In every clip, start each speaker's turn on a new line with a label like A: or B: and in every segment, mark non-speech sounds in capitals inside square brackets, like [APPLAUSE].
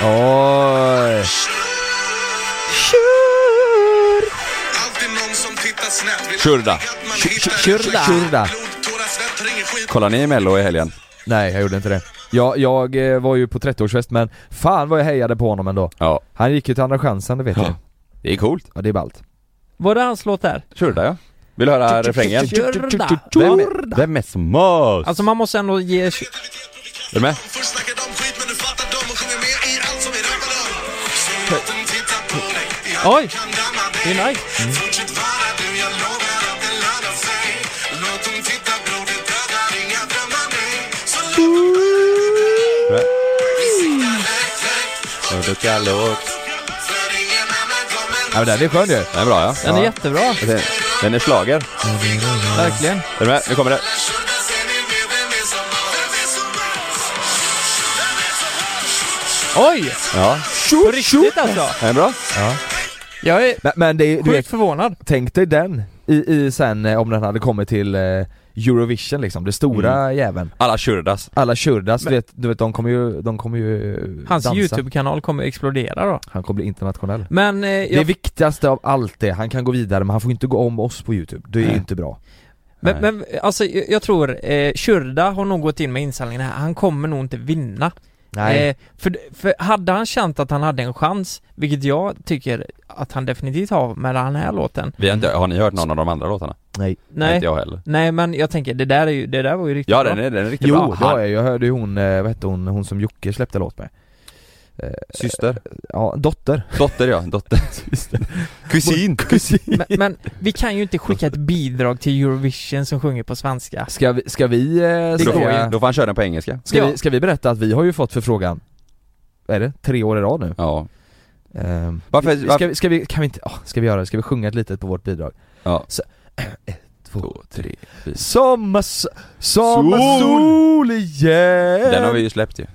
A: Oj. Tjur.
B: Alltid någon som tittar snett. Vill
C: Tjurda.
B: aldrig att man
C: Tjur-
B: hittar
C: tjur-
B: rätt
A: tjurda.
B: slags
A: Tjurda.
B: blod, tårar, svett, ringer skit.
C: Kollar ni Mello i helgen?
A: Nej, jag gjorde inte det. Jag, jag eh, var ju på 30-årsfest men fan vad jag hejade på honom ändå.
C: Ja.
A: Han gick ju till Andra chansen, det vet jag.
C: Det är coolt.
A: Ja, det är ballt.
D: Var det hans låt där?
C: Tjurda ja. Vill du höra refrängen?
D: Tjurda.
C: Vem, vem är smartast?
D: Alltså man måste ändå ge...
C: Är du med?
B: Först snackar de skit men nu fattar de och sjunger med i allt som vi rappar om. Soldaten tittar på dig. Jag
D: Oj.
B: kan damma dig.
D: Det är nice.
B: Fortsätt vara du, jag lovar att det lönar sig. Låt dem titta bror, det dödar inga drömmar, nej. Så låt dem
C: Är
B: sikta
C: du kallåt?
B: rätt, för ingen annan kommer
A: Ja, men den är skön ju.
C: Den är bra ja.
D: Den är jättebra.
C: Den- Den är slager.
D: Verkligen.
C: Är du med? Nu kommer det.
D: Oj!
C: Ja.
D: På riktigt alltså.
C: Den är bra.
D: Jag är
A: Men, men det, är- du vet,
D: sjukt förvånad.
A: tänk dig den i, i sen eh, om den hade kommit till eh, Eurovision liksom, det stora jäveln.
C: Alla tjurdas.
A: Alla tjurdas, du, vet, du vet de kommer ju, de kommer ju eh,
D: Hans
A: dansa.
D: YouTube-kanal kommer explodera då.
A: Han kommer bli internationell.
D: Men eh,
A: Det
D: jag
A: viktigaste av allt är, han kan gå vidare men han får ju inte gå om oss på youtube, det är ju inte bra.
D: Men, men alltså jag jag tror, eh, Kyrda har nog gått in med inställningen här, han kommer nog inte vinna.
A: Nej.
D: Eh, för, för hade han känt att han hade en chans, vilket jag tycker att han definitivt har med den här låten.
C: Vi har, inte, har ni hört någon av de andra låtarna?
A: Nej.
D: Nej,
C: Inte jag heller.
D: nej men jag tänker det där, är ju, det där var ju riktigt
C: Ja
D: bra.
C: den är, den är riktigt
A: Jo,
C: bra.
A: det har jag, jag hörde ju hon, eh, vad hette hon, hon som Jocke släppte låt med.
C: Syster.
A: Ja, dotter.
C: Dotter ja.
D: [LAUGHS]
C: Dotter. Kusin. Kusin.
D: Men, men vi kan ju inte skicka ett bidrag till Eurovision som sjunger på svenska.
A: Ska vi, ska vi, eh,
C: Då,
D: går
A: säga-
D: ju.
C: då får han köra den på engelska.
A: ska,
D: Ja.
A: vi ska vi berätta att vi har ju fått förfrågan, vad är det, tre år i rad nu?
C: Ja.
A: Ehm,
C: Varför-
A: vi-
C: varför-
A: Ska, vi- ska vi, kan vi inte, åh, ska vi göra det? Ska vi sjunga ett litet på vårt bidrag?
C: Ja.
A: Så, [CLEARS THROAT] ett, två,
C: Två, tre, fyra.
A: Sommars, sommarsol igen!
C: Den har
D: Ehm.
C: vi ju släppt ju.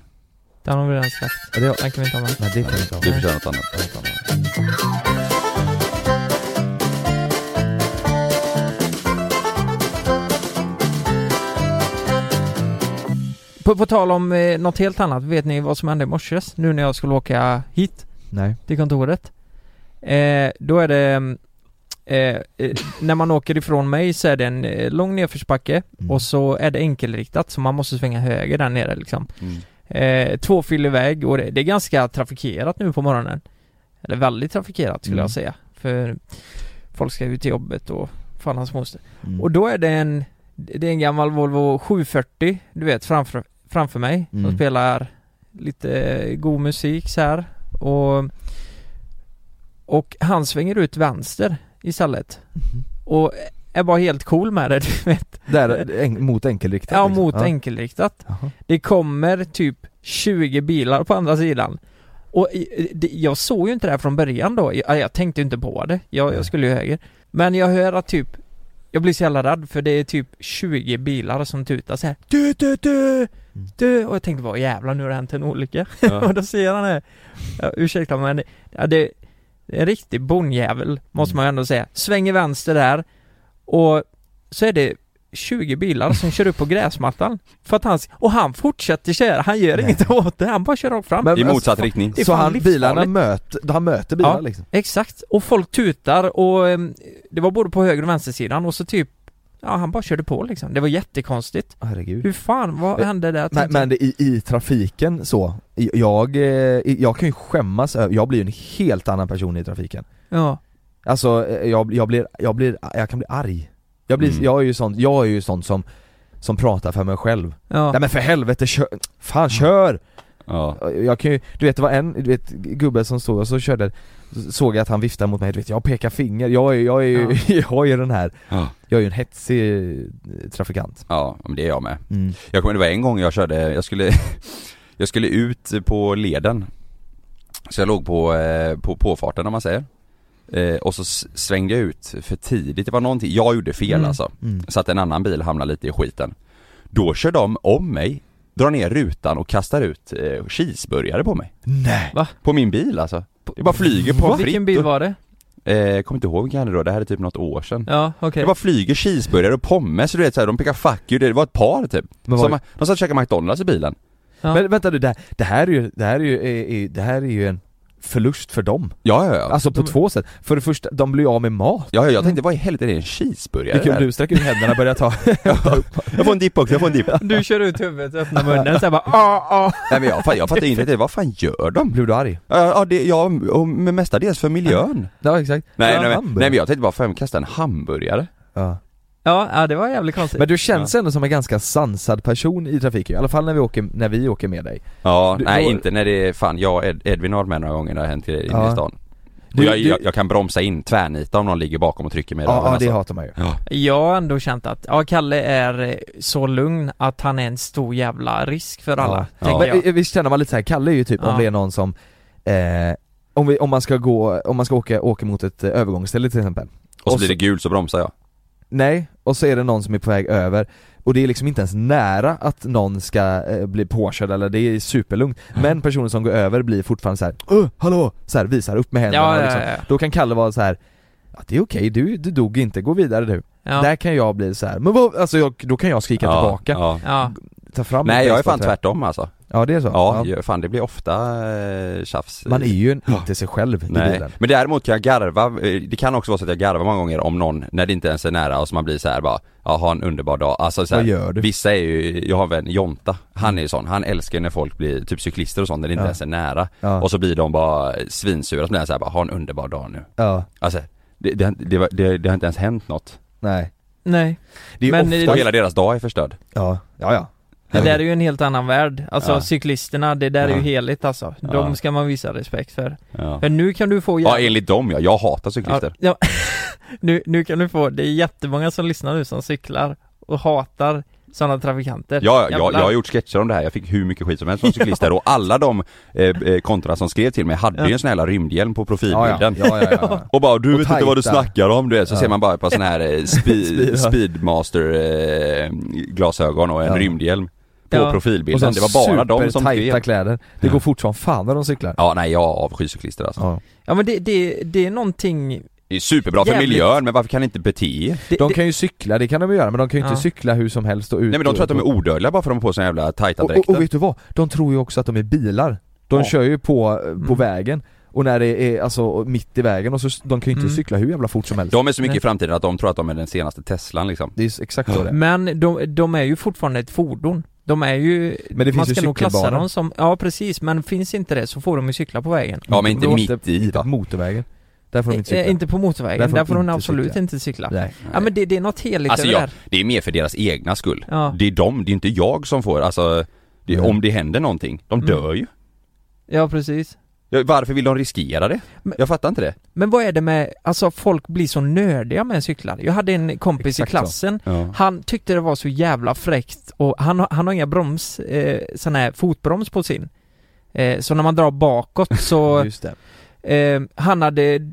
D: Den har vi redan släppt.
A: Ja, det har-
D: Den kan vi inte ha med.
A: Nej det kan vi inte ha.
C: Du får köra något annat.
D: På, på tal om eh, något helt annat, vet ni vad som hände i morse? Nu när jag skulle åka hit?
A: Nej.
D: till kontoret. Eh, då är det, mm, eh, eh, när man åker ifrån mig så är det en eh, lång nedförsbacke
A: Mm.
D: och så är det enkelriktat så man måste svänga höger där nere liksom.
C: Mm.
D: Eh, tvåfilig väg och det, det är ganska trafikerat nu på morgonen. Eller väldigt trafikerat skulle
A: Mm.
D: jag säga. För folk ska ju till jobbet och fan hans moster.
A: Mm.
D: Och då är det en, det är en gammal Volvo 740, du vet, framför, framför mig. Som
A: Mm.
D: spelar lite god musik så här. Och, och han svänger ut vänster istället. Och är bara helt cool med det, du vet.
A: [LAUGHS] Där, en, mot enkelriktat?
D: Ja,
A: liksom.
D: mot enkelriktat.
A: Jaha.
D: Det kommer typ 20 bilar på andra sidan. Och i- det- jag såg ju inte det här från början då. Jag, jag tänkte ju inte på det. Jag, jag skulle ju höger. Men jag hör att typ jag blir så jävla rädd för det är typ 20 bilar som tutar så här. Du, du, du, du. Och jag tänkte bara jävlar nu har det hänt en olycka.
C: Ja.
D: [LAUGHS] och då ser han det. Ja, ursäkta men det- ja, det det är en riktig bonjävel måste man ju ändå säga. Svänger vänster där och så är det 20 bilar som kör upp på gräsmattan. För att han, och han fortsätter köra, han gör
A: Nej.
D: inget åt det, han bara kör rakt fram.
A: Men-
C: I motsatt riktning.
D: Det är
A: Så
D: fan
A: han,
D: livsfarligt.
A: bilarna möter, han möter bilar
D: Ja.
A: liksom?
D: Exakt, och folk tutar och eh, det var både på höger och vänstersidan och så typ Ja han bara körde på liksom, det var jättekonstigt
A: Herregud
D: Hur fan, vad
A: Eh,
D: hände där?
A: Mm. Men, men det, i, i trafiken så, i- jag, eh, jag kan ju skämmas över, jag blir ju en helt annan person i trafiken
D: Ja,
A: Alltså eh, jag, jag blir, jag blir, jag kan bli arg Jag blir,
C: Mm.
A: jag är ju sån, jag är ju sån som som pratar för mig själv.
D: ja,
A: Nej men för helvete kör, fan kör!
C: Ja.
A: Jag kan ju, du vet det var en, du vet gubbe som stod och så körde, så- såg jag att han viftade mot mig, du vet jag pekar finger, jag är, jag är ju, [LAUGHS] jag är ju den här,
C: Ja.
A: jag är ju en hetsig eh, trafikant Mm,
C: ja, men det är jag med. Jag kommer, det var en gång jag körde, jag skulle, [LAUGHS] jag skulle ut på leden Så jag låg på, eh, på påfarten om man säger eh, Och så s- svängde jag ut för tidigt, det var någonting, jag gjorde fel
D: Mm,
C: alltså
A: mm.
C: Så att en annan bil hamnade lite i skiten Då kör de om mig, drar ner rutan och kastar ut eh, cheeseburgare på mig
A: Nej!
C: På min bil alltså Det bara flyger
D: Va?
C: på
D: Vilken bil var det?
C: Eh, kommer inte ihåg vilken jag hade då, det här är typ något år sedan
D: Ja, okej
C: Det bara flyger cheeseburgare och pommes, du vet såhär, de pekar 'fuck you' det var ett par typ
A: Men
C: Som-
A: var,
C: De satt och käkade McDonalds i bilen
D: Ja.
A: Men vänta du, det här, det här är ju, det här är ju, är, är, det här är ju en förlust för dem.
C: Ja, ja, ja.
A: Alltså på
D: De-
A: två sätt. För det första, de blir av med mat.
C: ja, ja jag tänkte, vad i helvete är det? En cheeseburgare?
A: Det är kul,
C: där?
A: du sträcker ut händerna och börjar ta
C: Jag får en dipp också, jag får en dipp.
D: Du kör ut huvudet, öppnar munnen
A: [LAUGHS]
D: såhär bara ah, ah.
C: Nej men jag, fan, jag fattar inte, det. vad fan gör de?
A: Blev du arg?
C: Ja, ja, det, ja och men mestadels för miljön.
A: Ja exakt.
C: Nej,
A: Ja,
C: nej, men,
A: hamburgare.
C: nej men jag tänkte bara, fan kasta en hamburgare?
A: Ja.
D: Ja, ja det var jävligt konstigt
A: Men du känns ändå som en ganska sansad person i trafiken, i alla fall när vi åker, när vi åker med dig.
C: Ja,
A: Du-
C: nej
A: då-
C: inte när det är, fan jag och Ed, Edvin har varit med några gånger när det har hänt grejer inne
A: Ja.
C: i stan. Och
A: Du-
C: jag,
A: du-
C: jag, jag kan bromsa in, tvärnita om någon ligger bakom och trycker mig i
A: Ja,
C: röven,
A: ja det
C: alltså.
A: hatar man ju.
C: ja.
D: Jag har ändå känt att, ja Kalle är eh, så lugn att han är en stor jävla risk för alla,
C: Ja.
D: tänker
A: Men
D: jag
A: eh, visst känner man lite så här, Kalle är ju typ om
D: Ja.
A: det är någon som eh, om, vi, om man ska gå, om man ska åka, åka mot ett eh, övergångsställe till exempel
C: Och så
A: Och
C: blir
A: så-
C: det gul så bromsar jag.
A: Nej, och så är det någon som är på väg över och det är liksom inte ens nära att någon ska eh, bli påkörd eller det är superlugnt
C: Mm.
A: Men personen som går över blir fortfarande så här, "Åh, hallå! Så här, visar upp med händerna
D: Ja,
A: och
D: ja,
A: liksom.
D: ja, ja.
A: Då kan Kalle vara så här. Ja, det är okej, du, du dog inte, gå vidare du.
D: Ja,
A: Där kan jag bli så här. men vad, alltså jag, då kan jag skrika
C: ja,
A: tillbaka,
C: Ja.
D: ja.
A: ta fram
C: Nej
A: mitt
C: jag är
A: baseball
C: fan
A: trä.
C: tvärtom alltså.
A: Ja det är så?
C: Ja, ja. fan det blir ofta eh, tjafs.
A: Man är ju en, inte sig själv i
C: Nej,
A: bilen
C: men däremot kan jag garva, eh, det kan också vara så att jag garvar många gånger om någon när det inte ens är nära och så man blir så här bara Ja, ha en underbar dag, alltså så här,
A: Vad gör du? Mm.
C: Vissa är ju, jag har en vän, Jonta, han är ju sån, han älskar ju när folk blir, typ cyklister och sånt när det inte
A: Ja.
C: ens är nära
A: Ja.
C: Och så blir de bara svinsura, så blir han så här bara, ha en underbar dag nu
A: Ja,
C: Alltså, det, det, det, var- det, det har inte ens hänt något
A: nej
D: nej
A: Det är
D: Men
A: men ofta,
D: i-
C: Och hela deras dag är förstörd
A: ja, ja, ja.
D: Det där är ju en helt annan värld, alltså
C: Ja.
D: cyklisterna, det där är
C: Ja.
D: ju heligt alltså
C: Ja.
D: De ska man visa respekt för
C: Ja,
D: För nu kan du få
C: ja enligt dem ja, jag hatar
D: ja,
C: cyklister
D: ja. [LAUGHS] nu, nu kan du få, det är jättemånga som lyssnar nu som cyklar och hatar sådana trafikanter
C: Ja, jag,
D: Jävlar.
C: jag har gjort sketcher om det här, jag fick hur mycket skit som helst från cyklister och alla de eh, eh, kontorna som skrev till mig hade ju en sån här jävla rymdhjälm på
A: Ja, ja, ja,
C: profilbilden
A: ja, ja,
C: [LAUGHS]
A: ja.
C: Och bara du
A: Och
C: vet inte vad du
A: tajta.
C: snackar om du vet, så
A: Ja.
C: ser man bara på sån här eh, speed,
A: [LAUGHS] Speed, ja.
C: speedmaster eh, glasögon och en
A: Ja.
C: rymdhjälm På
D: Ja.
A: Och sen
C: profilbilden, det var bara de som
A: supertajta
C: skrev
A: kläder. Det går fort som fan när de cyklar.
C: Ja nej jag avskyr cyklister alltså.
A: Ja.
D: Ja men det, det, det är någonting
C: Det är superbra för
D: Jävligt.
C: miljön men varför kan ni inte bete er?
D: det,
A: De
D: det-
A: kan ju cykla, det kan de ju göra, men de kan ju inte
D: Ja.
A: cykla hur som helst och ut
C: Nej men de tror att de är odödliga bara för att de har på sig jävla tajta
A: och, och, och
C: dräkter
A: vet du vad? De tror ju också att de är bilar. De
C: Ja.
A: kör ju på, eh, på
D: Mm.
A: vägen, och när det är alltså mitt i vägen, och så, de kan ju inte
D: Mm.
A: cykla hur jävla fort som helst.
C: De är så mycket
D: Nej.
C: i framtiden att de tror att de är den senaste Teslan liksom
A: Det är ju exakt så det är.
D: Men de, de är ju fortfarande ett fordon. De är ju,
A: Men
D: man
A: det finns ju
D: ska nog klassa
A: cykelbanor.
D: dem som, ja precis, men finns inte det så får de ju cykla på vägen.
C: Ja men inte
A: Då
C: mitt
A: måste-
C: i va?
A: Motorvägen. Där får de inte
D: Eh,
A: cykla.
D: inte på motorvägen, där får, de
A: inte
D: absolut
A: cykla.
D: inte cykla.
A: Nej.
D: Ja men det, det är något heligt
C: Alltså
D: över
C: jag,
D: det
C: det är mer för deras egna skull.
D: Ja.
C: Det är de, det är inte jag som får, alltså det,
A: Mm.
C: om det händer någonting, de
D: Mm.
C: dör ju.
D: där. Ja precis.
C: Ja, Varför vill de riskera det?
D: Men-
C: jag fattar inte det.
D: Men vad är det med, alltså folk blir så nördiga med cyklar. Jag hade en kompis
A: Exakt
D: i
A: så.
D: klassen, han tyckte det var så jävla fräckt och han, har- han har inga broms, eh, sån här fotbroms på sin. Eh, så när man drar
A: [LAUGHS]
D: bakåt så
A: Just det.
D: Eh, han hade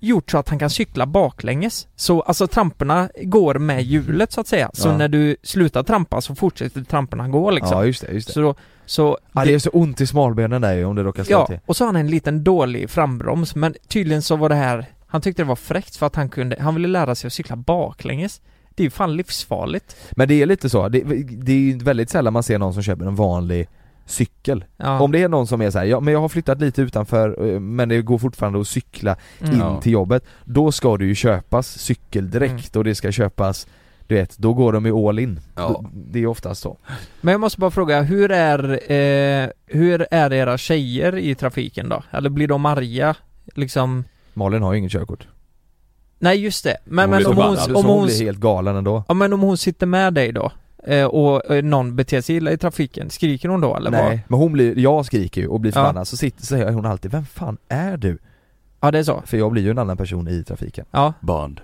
D: gjort så att han kan cykla baklänges. Så alltså tramporna går med hjulet så att säga. Så
A: Ja.
D: när du slutar trampa så fortsätter tramporna gå liksom.
A: Ja just det, just det.
D: Så då, så
A: Ja, det är så ont i smalbenen där ju om det råkar slå
D: ja,
A: till.
D: och så har han en liten dålig frambroms men tydligen så var det här, han tyckte det var fräckt för att han kunde, han ville lära sig att cykla baklänges. Det är ju fan livsfarligt.
A: Men det är lite så, det, det är ju väldigt sällan man ser någon som köper en vanlig cykel.
D: Ja.
A: Om det är någon som är så här, ja men jag har flyttat lite utanför eh, men det går fortfarande att cykla in
D: Mm.
C: Ja.
A: till jobbet. Då ska det ju köpas cykeldräkt
D: Mm.
A: och det ska köpas, du vet, då går de ju all in.
C: Ja.
A: Det är oftast så.
D: Men jag måste bara fråga, hur är, eh, hur är era tjejer i trafiken då? Eller blir de arga? Liksom
A: Malin har ju inget körkort.
D: Nej just det, men,
C: Hon
D: men
C: blir
D: om, hon,
C: förbannad.
A: Så
D: om,
A: hon,
D: hon,
A: blir helt galen ändå.
D: ja, men om hon sitter med dig då eh, och eh, någon beter sig illa i trafiken, skriker hon då eller vad?
A: Nej, men hon blir, jag skriker ju och blir
D: Ja.
A: förbannad så sitter, säger hon alltid 'Vem fan är du?'
D: Ja det är så?
A: För jag blir ju en annan person i trafiken.
D: Ja,
C: Band.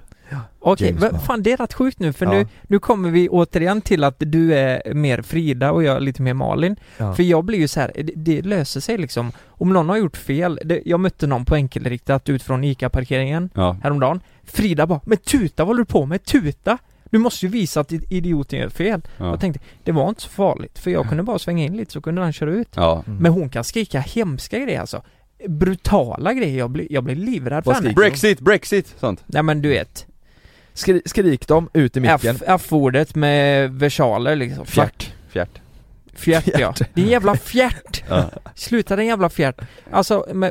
D: okej,
A: James
D: men
A: Bond.
D: fan det är rätt sjukt nu för
A: Ja.
D: nu, nu kommer vi återigen till att du är mer Frida och jag är lite mer Malin
A: Ja.
D: För jag blir ju så här, eh, det, det löser sig liksom Om någon har gjort fel, det, jag mötte någon på enkelriktat ut från ICA-parkeringen
C: Ja.
D: häromdagen Frida bara 'Men tuta, vad håller du på med? Tuta! Du måste ju visa att idioten gör fel'
C: Ja.
D: Jag tänkte, det var inte så farligt för jag kunde bara svänga in lite så kunde han köra ut.
C: ja.
A: Mm.
D: Men hon kan skrika hemska grejer alltså. Brutala grejer, jag blir, jag blir livrädd för
A: Vad
D: henne.
A: skriker hon?
C: Brexit, Brexit, sånt.
D: Nej men du vet, Mm.
A: Skri, skrik dem ut i micken.
D: F- F-ordet med versaler liksom.
C: Fjärt. Fjärt.
D: Fjärt ja.
A: Fjärt.
D: Din jävla fjärt!
C: [LAUGHS] Ja.
D: Sluta din jävla fjärt. Alltså, men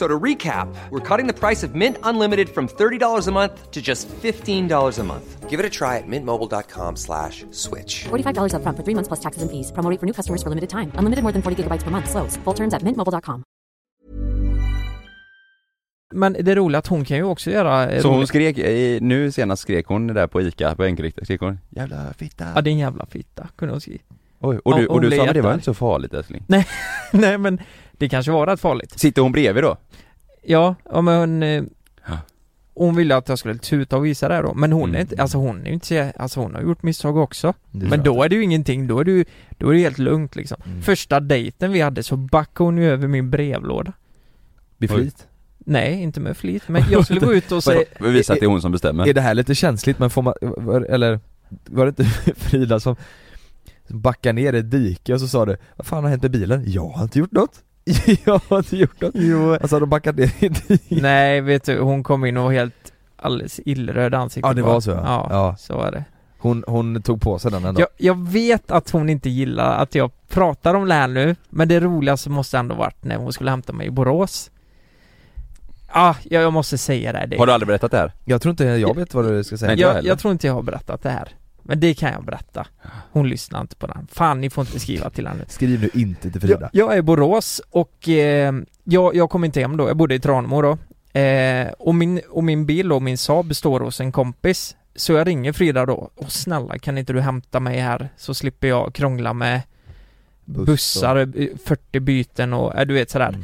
E: So to recap, we're cutting the price of Mint Unlimited from $30 a month to just $15 a month.
F: Give it a try at mintmobile.com slash switch.
G: $45 upfront for three months plus taxes and fees. Promoting for new customers for limited time. Unlimited more than 40 gigabytes per month. Slows. Full terms at mintmobile.com.
D: Men det roliga är att hon kan ju också göra eh,
C: Så
D: roligt.
C: hon skrek, i- nu senast skrek hon där på Ica, på enkelriktat, skrek hon 'Jävla
D: Ja
C: fitta'
D: din jävla fitta, kunde hon skriva [LAUGHS]
C: Oj, och du,
D: hon
C: och du
D: blev
C: sa men det var
D: jättearg.
C: inte så farligt älskling
D: Nej men det kanske var rätt farligt
C: Sitter hon bredvid då?
D: Ja, ja men hon eh,
C: Ja.
D: Hon ville att jag skulle tuta och visa det här då, men hon
C: Mm.
D: är inte, alltså hon är ju inte, så- alltså hon har gjort misstag också
A: Det
D: Men
A: tror jag.
D: då är det ju ingenting, då är det ju, då är det helt lugnt liksom
A: Mm.
D: Första dejten vi hade så backade hon ju över min brevlåda
A: Med flit.
D: Nej, inte med flit, men jag skulle
C: [LAUGHS]
D: gå ut och säga
C: Vi visar att det är hon som bestämmer
A: Är det här lite känsligt men får man, var- eller var det inte [LAUGHS] Frida som som backade ner i ett dike och så sa du Vad fan har hänt med bilen? Jag har inte gjort något [LAUGHS] Jag har inte gjort något
D: Jo
A: Och så har de backat ner i ett [LAUGHS] dike
D: Nej vet du, hon kom in och var helt alldeles illröd i ansiktet
A: Ja det
D: bara.
A: var så
D: ja,
A: ja,
D: ja.
A: ja.
D: så var det
A: Hon, hon tog på sig den ändå
D: Jag, jag vet att hon inte gillar att jag pratar om det här nu, men det roligaste måste ändå varit när hon skulle hämta mig i Borås. Ah, jag, jag måste säga det. här, det
C: Har du aldrig berättat det här?
A: Jag tror inte jag vet vad du ska säga
C: Nej, inte jag
D: jag,
C: heller.
D: jag tror inte jag har berättat det här. Men det kan jag berätta. Hon lyssnar inte på den. Fan, ni får inte skriva till henne.
A: Skriv nu inte till Frida
D: Jag, jag är i Borås och eh, jag, jag kom inte hem då, jag bodde i Tranemo då. Eh, och, min, och min bil och min Saab står hos en kompis. Så jag ringer Frida då. Och snälla kan inte du hämta mig här så slipper jag krångla med
A: Buss
D: bussar, eh, 40 byten och eh, du vet sådär.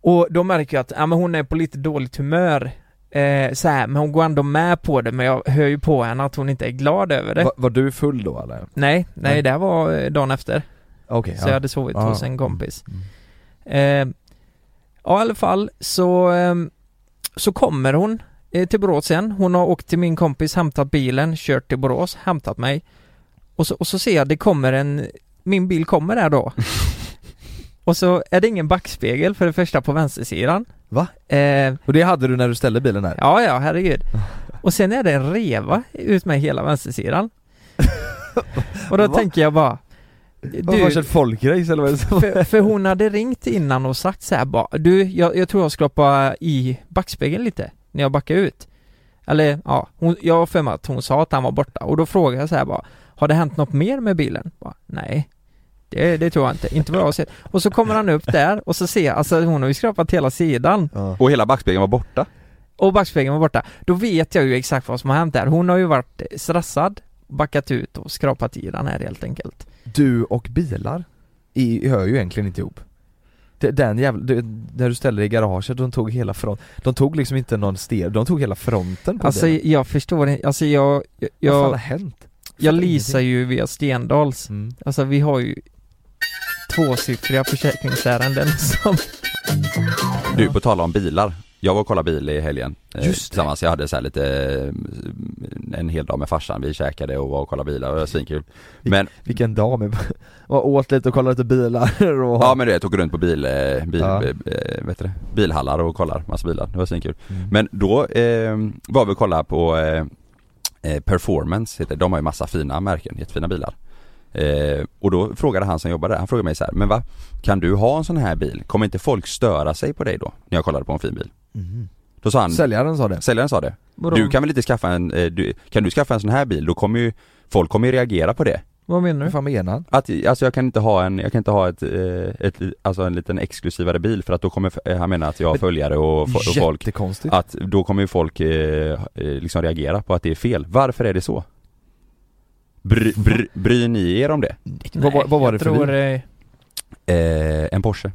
D: Och då märker jag att ja, men hon är på lite dåligt humör. Eh, så här, men hon går ändå med på det men jag hör ju på henne att hon inte är glad över det.
A: Va, Var du full då eller?
D: Nej, nej,
A: Nej.
D: det här var eh, dagen efter.
A: Okej,
D: Så jag hade sovit
A: Ja. Mm.
D: hos en kompis. Eh, ja i alla fall så, ehm, så kommer hon eh, till Borås sen. Hon har åkt till min kompis, hämtat bilen, kört till Borås, hämtat mig. Och så, och så ser jag det kommer en, min bil kommer där
A: [LAUGHS]
D: då. och så är det ingen backspegel för det första på vänstersidan.
A: Va?
D: Eh,
A: Och det hade du när du ställde bilen där?
D: ja ja, herregud. Och sen är det en reva ut med hela
A: [LAUGHS]
D: vänstersidan. och då
A: Va?
D: tänker jag bara
A: Vad var det ett folkrace eller vad är det som-
D: för, för hon hade ringt innan och sagt så här bara Du, jag, jag tror jag ska hoppa i backspegeln lite när jag backar ut Eller ja, hon, jag har för mig att hon sa att han var borta och då frågade jag så här bara Har det hänt något mer med bilen? Bara, Nej det, det tror jag inte, inte vad jag har sett. Och så kommer han upp där och så ser jag, alltså hon har ju skrapat hela sidan
A: Ja.
C: Och hela backspegeln var borta?
D: och backspegeln var borta. Då vet jag ju exakt vad som har hänt där. Hon har ju varit stressad, backat ut och skrapat i den här helt enkelt.
A: Du och bilar i, hör ju egentligen inte ihop Det- den jävla, du, när du ställde dig i garaget, de tog hela front, de tog liksom inte någon ster, de tog hela fronten på
D: Alltså
A: bilen.
D: jag förstår inte, alltså jag, jag,
A: Vad fan
D: jag
A: har hänt?
D: Jag
A: Fattar
D: leasar
A: ingenting.
D: ju via Stendals.
A: Mm.
D: Alltså vi har ju tvåsiffriga försäkringsärenden [LAUGHS] som...
C: Du, på tala om bilar. Jag var och kollade bil i helgen. eh,
A: Just det.
C: Tillsammans, jag hade så här lite, eh, en hel dag med farsan. Vi käkade och var och kollade bilar och det var svinkul. Men,
A: Vilken dag med, [LAUGHS] och åt lite och kollade lite bilar [LAUGHS] och
C: ja men du vet, åker runt på bil, eh, bil,
A: Ja.
C: eh, vet du det? bilhallar och kollar massa bilar. Det var svinkul.
A: Mm.
C: Men då eh, var vi och kollade på eh, eh, Performance, heter det. de har ju massa fina märken, jättefina bilar. Eh, och då frågade han som jobbade där, han frågade mig så här, men va, kan du ha en sån här bil? Kommer inte folk störa sig på dig då? När jag kollade på en fin bil.
A: Mm.
C: Då sa han,
A: Säljaren sa det
C: säljaren sa det. Du kan väl inte skaffa en, eh, du, kan du skaffa en sån här bil? Då kommer ju, folk kommer ju reagera på det.
D: Vad menar
A: Vad
D: du?
A: fan menar han?
C: Att, alltså jag kan inte ha en, jag kan inte ha ett, eh, ett alltså en liten exklusivare bil för att då kommer, f- eh, han menar att jag har
A: Men-
C: följare och, fo- och folk
A: Jättekonstigt
C: att då kommer ju folk eh, eh, liksom reagera på att det är fel. Varför är det så? Bry, bry, bryr ni er om det?
A: vad, var- vad var det för
D: tror,
A: bil?
D: eh,
C: Eh, en Porsche.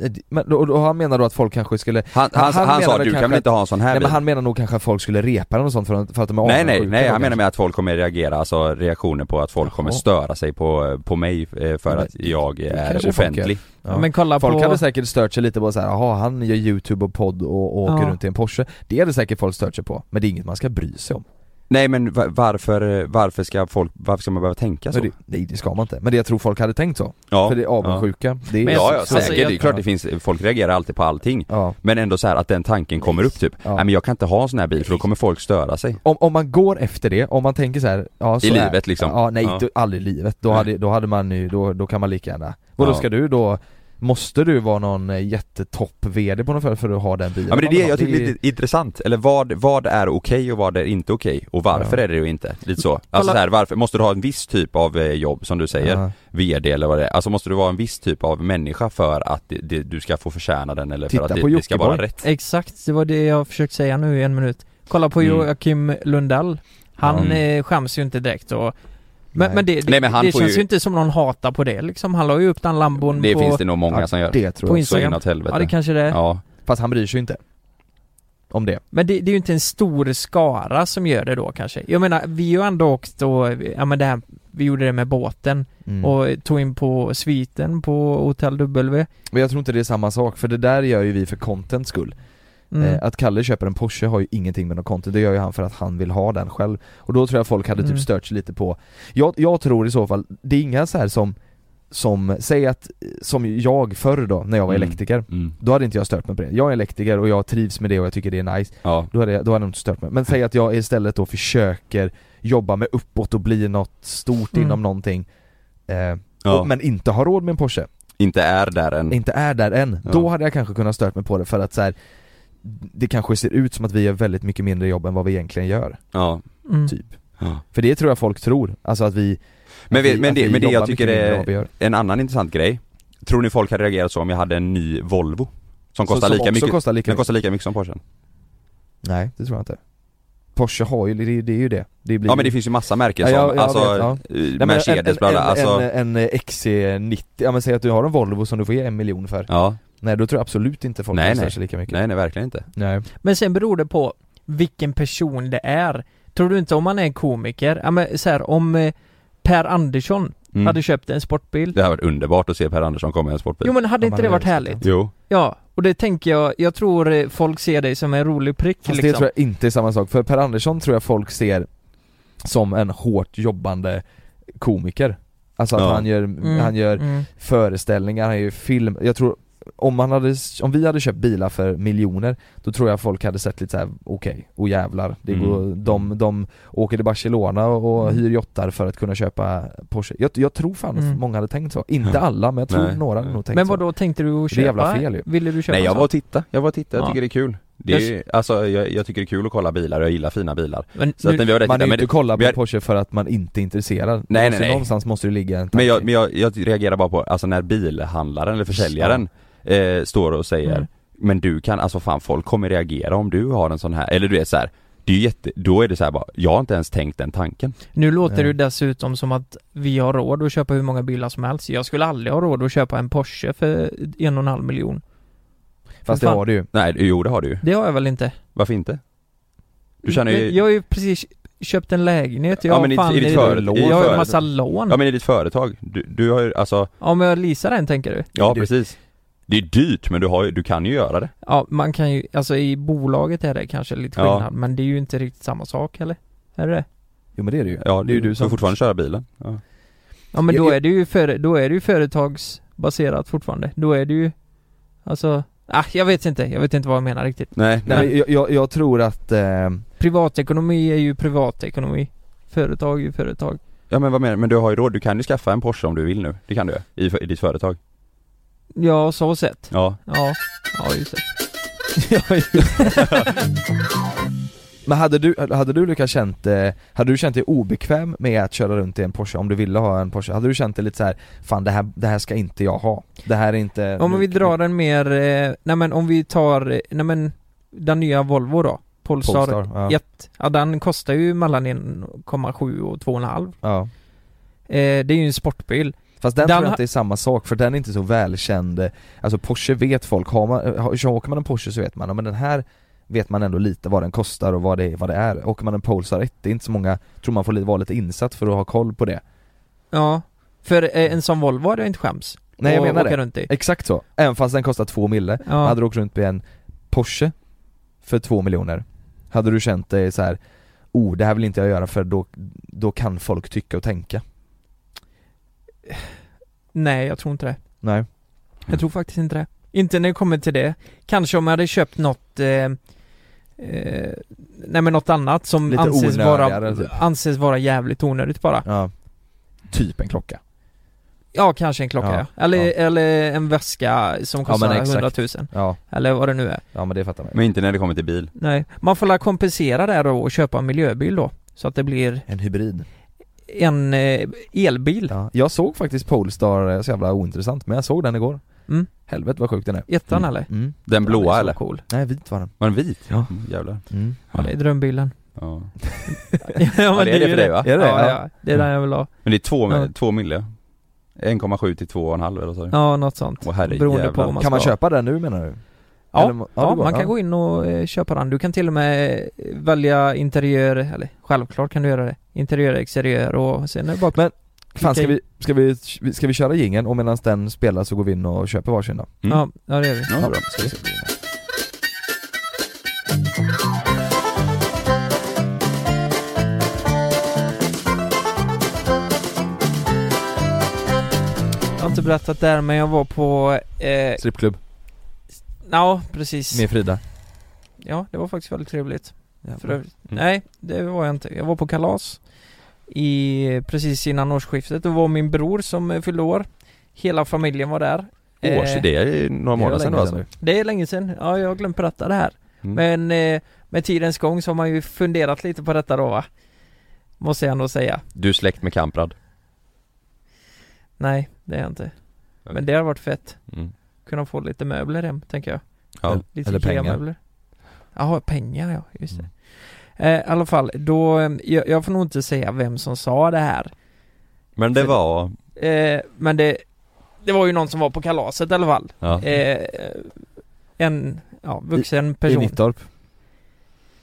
A: Eh, Men, och, och han menar då att folk kanske skulle,
C: Han, han,
A: Han
C: han, sa
A: menar väl
C: du kan
A: kanske
C: väl inte ha en sån här
A: nej
C: bil?
A: men han menar nog kanske att folk skulle repa den och sånt för, att- för att de är
C: nej nej,
A: avundsjuka
C: nej
A: då
C: han menar
A: kanske.
C: med att folk kommer reagera, alltså reaktioner på att folk kommer
A: Jaha.
C: störa sig på, på mig eh, för
A: Men
C: att jag är
A: kanske folk
C: offentlig.
A: Ja.
D: Men kolla
A: Folk
D: på...
A: hade säkert stört sig lite på såhär, jaha han gör youtube och podd och, och åker
D: Ja.
A: runt i en Porsche Det hade säkert folk stört sig på, men det är inget man ska bry sig om
C: Nej men va- varför, varför ska folk, varför ska man behöva tänka så?
A: Men det, nej det ska man inte, men det jag tror folk hade tänkt så,
C: ja.
A: för det är avundsjuka det är,
D: Men
C: Ja, ja
D: Alltså,
C: säkert,
D: jag-
C: det är klart det finns, folk reagerar alltid på allting
A: ja.
C: Men ändå så här att den tanken kommer upp typ,
A: Ja.
C: nej men jag kan inte ha en sån här bil för då kommer folk störa sig
A: Om, om man går efter det, om man tänker så här, ja, så
C: I
A: är-
C: livet, liksom.
A: Ja, nej
C: Ja.
A: Då, aldrig i livet, då
C: Nej.
A: hade, då hade man ju, då, då kan man lika gärna Vadå
C: Ja.
A: ska du då, måste du vara någon eh, jättetopp VD på något företag för att ha den bilen?
C: Ja men det är det jag tycker
A: är-
C: är lite intressant, eller vad, vad är okej och vad är inte okej? Och varför
A: Ja.
C: är det det inte? Lite så, alltså så här, varför, måste du ha en viss typ av eh, jobb som du säger?
A: Ja.
C: VD eller vad det är, alltså måste du vara en viss typ av människa för att det, det, du ska få förtjäna den eller
A: Titta
C: för att
A: på
C: det, det ska vara
A: Jockiboi.
C: rätt?
D: Exakt, det var det jag försökt säga nu i en minut Kolla på
C: Mm.
D: Joakim Lundell Han
C: Ja.
D: eh, skäms ju inte direkt och Men,
A: Nej.
D: men det, det,
C: Nej, men han
D: det
C: får
D: känns
C: ju-
D: ju inte som någon hatar på det liksom Han la ju upp den lambon
C: Det
D: på
C: finns det nog många
A: ja,
C: som gör,
A: Det tror
C: så
D: på
A: jag,
D: Instagram.
C: inåt helvete
D: Ja det kanske det är
C: Ja,
A: fast han bryr sig ju inte Om det
D: Men det, det är ju inte en stor skara som gör det då kanske Jag menar, vi har ju ändå åkt och, ja men det här Vi gjorde det med båten
A: Mm.
D: och tog in på sviten på Hotell W
A: Men jag tror inte det är samma sak, för det där gör ju vi för contents skull
D: mm.
A: eh, Att Kalle köper en Porsche har ju ingenting med något content, det gör ju han för att han vill ha den själv Och då tror jag folk hade
D: Mm.
A: typ stört sig lite på jag, jag tror i så fall, det är inga så här som som, säg att, som jag förr då, när jag var
C: Mm.
A: elektriker
C: mm.
A: Då hade inte jag stört mig på det. Jag är elektriker och jag trivs med det och jag tycker det är nice
C: ja,
A: Då hade jag, då hade jag inte stört mig. Men säg att jag istället då försöker jobba mig uppåt och bli något stort
D: Mm.
A: inom någonting eh,
C: ja.
A: och, men inte har råd med en Porsche
C: inte är där än
A: inte är där än,
C: Mm. Ja.
A: då hade jag kanske kunnat stört mig på det för att så här, det kanske ser ut som att vi gör väldigt mycket mindre jobb än vad vi egentligen gör,
C: ja.
D: mm.
A: typ.
C: Ja.
A: För det tror jag folk tror, alltså att vi
C: Men
A: att
C: vi-
A: vi,
C: men
A: att
C: det-
A: vi
C: men det jag
A: jobbar
C: tycker
A: mycket mindre
C: är-
A: än vad vi gör.
C: En annan intressant grej Tror ni folk hade reagerat så om jag hade en ny Volvo? Som kostar
A: Så- som
C: lika
A: också
C: mycket,
A: Kostar lika
C: den
A: mycket.
C: kostar lika mycket som Porschen
A: Nej, det tror jag inte. Porsche har ju, det, är ju- det är ju det. det blir
C: Ja men det
A: ju-
C: finns ju massa märken
A: Ja,
C: som,
A: jag- jag
C: alltså
A: vet, ja.
C: eh,
A: Nej, men
C: Mercedes bla
A: en,
C: bla, alltså
A: en, en, eh, en XC90, ja men säg att du har en Volvo som du får ge en miljon för.
C: Ja,
A: Nej då tror jag absolut inte folk
C: Nej,
A: kostar
C: nej.
A: sig lika mycket.
C: nej nej verkligen inte
A: Nej.
D: Men sen beror det på vilken person det är. Tror du inte om man är en komiker, ja men så här, om eh, Per Andersson
C: Mm.
D: hade köpt en sportbil.
C: Det hade varit underbart att se Per Andersson komma i en sportbil
D: Jo men hade
A: Om
D: inte
A: han
D: det
A: hade
D: varit
A: översatt
D: härligt?
A: den.
C: Jo,
D: Ja, och det tänker jag, jag tror eh, folk ser dig som en rolig prick
A: Fast
D: liksom.
A: det tror jag inte är samma sak, för Per Andersson tror jag folk ser som en hårt jobbande komiker Alltså att
C: Ja.
A: han gör,
D: Mm,
A: han gör
D: mm.
A: föreställningar, han gör film, jag tror om, man hade, om vi hade köpt bilar för miljoner, då tror jag folk hade sett lite såhär, okej, och jävlar, det
C: Mm.
A: går, de, de åker till Barcelona och och
D: Mm.
A: hyr jottar för att kunna köpa Porsche Jag, jag tror fan att
D: Mm.
A: många hade tänkt så, inte alla men jag tror
C: Nej.
A: några hade nog tänkt
D: Men
A: så
D: vad då tänkte du att
A: Det är
D: köpa?
A: jävla fel ju.
D: Ville du köpa
C: nej jag
D: en
C: var och titta, jag var och titta, jag
D: Ja.
C: tycker det är kul det är,
D: Jag-
C: ju- Alltså jag, jag tycker det är kul att kolla bilar och jag gillar fina bilar
D: sån? Men,
C: Så att när
D: nu,
C: vi var där
A: Man är
C: tittade,
A: ju
C: men,
A: inte kolla
C: vi
A: på
C: har-
A: Porsche för att man inte är intresserad Det
C: Nej,
A: måste-
C: nej, nej.
A: Någonstans måste det ligga en tanke
C: men, jag, men jag, jag reagerar bara på, alltså när bilhandlaren eller försäljaren eh, står och säger
D: Mm.
C: Men du kan, alltså fan folk kommer reagera om du har en sån här, eller du är så här. Det är ju jätte, då är det så här bara, jag har inte ens tänkt den tanken
D: nu låter det ju
A: Ja.
D: dessutom som att vi har råd att köpa hur många bilar som helst. Jag skulle aldrig ha råd att köpa en Porsche för en och en halv miljon.
A: Fast det
D: Fan.
A: har du ju
C: Nej, jo det har du ju.
D: Det har jag väl inte?
C: Varför inte? Du känner ju,
D: Jag har ju precis köpt en lägenhet, jag
C: Ja, men i-
D: har fan
C: i ditt företag- i
D: jag har ju
C: företag.
D: en massa lån.
C: ja men i ditt företag, du, du har ju alltså,
D: Om jag leasar den tänker du?
C: ja
A: Du-
C: precis Det är dyrt men du har ju, du kan ju göra det
D: Ja, man kan ju, alltså i bolaget är det kanske lite
C: Ja.
D: skillnad, men det är ju inte riktigt samma sak heller. Är det det?
A: Jo men det är det ju
C: Ja,
A: det är ju du
C: får
A: som
C: fortfarande köra bilen ja.
D: Ja men
A: Jag-
D: då
A: jag-
D: är det ju för, då är det ju företagsbaserat fortfarande. Då är det ju, alltså, ah, jag vet inte, jag vet inte vad jag menar riktigt.
C: Nej, nej,
A: Nej, men jag, jag, jag tror att, eh, [LAUGHS]
D: Privatekonomi är ju privatekonomi. Företag är ju företag.
C: Ja men vad menar du? Men du har ju råd, du kan ju skaffa en Porsche om du vill nu, det kan du ju, i, för- i ditt företag
D: Ja, så sett.
C: Ja,
D: Ja, ja just det.
A: men hade du, hade du Lukas känt, eh, hade du känt dig obekväm med att köra runt i en Porsche om du ville ha en Porsche? Hade du känt dig lite så här, fan det här, det här ska inte jag ha? Det här är inte
D: Om vi drar den mer, eh, nej men om vi tar, eh, nej men den nya Volvo då, Polestar,
A: Polestar, ja.
D: Jet, ja den kostar ju mellan 1,7 och 2,5
A: ja.
D: eh, Det är ju en sportbil
A: Fast den,
D: Den
A: tror jag
D: ha-
A: inte är samma sak för den är inte så välkänd eh, Alltså Porsche vet folk, har man, eh, har- åker man en Porsche så vet man, ja, men den här vet man ändå lite vad den kostar och vad det, är- vad det är Åker man en Polestar 1, det är inte så många, tror man får li- vara lite insatt för att ha koll på det
D: Ja För eh, en sån Volvo hade jag inte skäms
A: Nej jag
D: att
A: menar
D: åka
A: det,
D: runt i
A: exakt så. Även fast den kostar två mille
D: Ja.
A: Hade du åkt runt med en Porsche för två miljoner Hade du känt dig så här. oh det här vill inte jag göra för då, då kan folk tycka och tänka?
D: Nej, jag tror inte det.
A: Nej.
D: Jag tror faktiskt inte det. Inte när det kommer till det. Kanske om jag hade köpt något eh, eh, Nej men något annat som
A: Lite
D: anses vara,
A: onödigare, typ.
D: anses vara jävligt onödigt bara.
A: Ja. Typ en klocka.
D: Ja, kanske en klocka ja.
A: Ja,
D: Eller,
A: ja.
D: eller en väska som kostar
A: men exakt.
D: 100 000
A: Ja,
D: Eller vad det nu är.
A: ja men det fattar man ju.
C: Men inte när det kommer till bil.
D: Nej. Man får la kompensera där då och köpa en miljöbil då. Så att det blir
A: En hybrid.
D: en eh, elbil.
A: Ja. Jag såg faktiskt Polestar, eh, så jävla ointressant, men jag såg den igår.
D: Mm.
A: Helvete vad sjuk den är.
D: Ettan eller?
A: Mm.
C: Den
D: Den är
C: blåa
D: så
C: eller?
D: cool.
A: Nej, vit var den.
C: Var den vit?
A: Ja.
C: Mm, jävlar.
A: Mm.
D: Ja, det är drömbilen.
C: Ja.
D: ja, men
C: Ja, det är det
D: ju
C: för dig va?
A: Är det
D: Ja,
A: det?
D: ja, det är den jag vill ha.
C: Men det är två,
D: Ja.
C: två mille. 1,7 till 2,5 eller så.
D: Ja, något sånt.
C: Åh, herrejävlar.
D: Beroende på vad man
A: Kan man
D: ska ha.
A: köpa den nu menar du?
D: Ja,
A: Eller må- ja,
D: ja
A: det går,
D: man kan
A: ja.
D: gå in och eh, köpa den. Du kan till och med eh, välja interiör, eller självklart kan du göra det. Interiör, exteriör och sen är det bara
A: Men- Fan ska
D: Klicka
A: vi, ska vi, ska vi köra jingeln och medan den spelar så går vi in och köper varsin då?
C: Mm.
D: ja, ja, det gör vi.
C: Ja, bra. Ska vi se.
D: Jag har inte berättat där men jag var på, eh,
A: Strippklubb
D: ja precis.
A: med Frida
D: Ja, det var faktiskt väldigt trevligt. För
A: Jävlar.
D: övrigt. Nej, det var jag inte. Jag var på kalas i, precis innan årsskiftet. Det var min bror som eh, fyllde år. Hela familjen var där.
C: År, så
D: Eh,
C: det är några månader sedan då
A: länge sedan
C: alltså.
D: Det är länge sedan, ja jag har glömt berätta det här
C: Mm.
D: Men eh, med tidens gång så har man ju funderat lite på detta då va? Måste jag ändå säga
C: Du är släkt med Kamprad.
D: Nej, det är jag inte
C: Okej.
D: Men det har varit fett
C: Mm.
D: Kunna få lite möbler hem, tänker jag
C: Ja.
D: Lite
A: Eller pengar.
D: IKEA-möbler. Jaha, pengar ja, just det
A: Mm.
D: eh, I alla fall, då, eh, jag, jag får nog inte säga vem som sa det här
C: Men det var...
D: eh, Men det Det var ju någon som var på kalaset i alla fall
C: Ja.
D: eh, En, ja, vuxen
A: Mm. I
D: person
A: Nittorp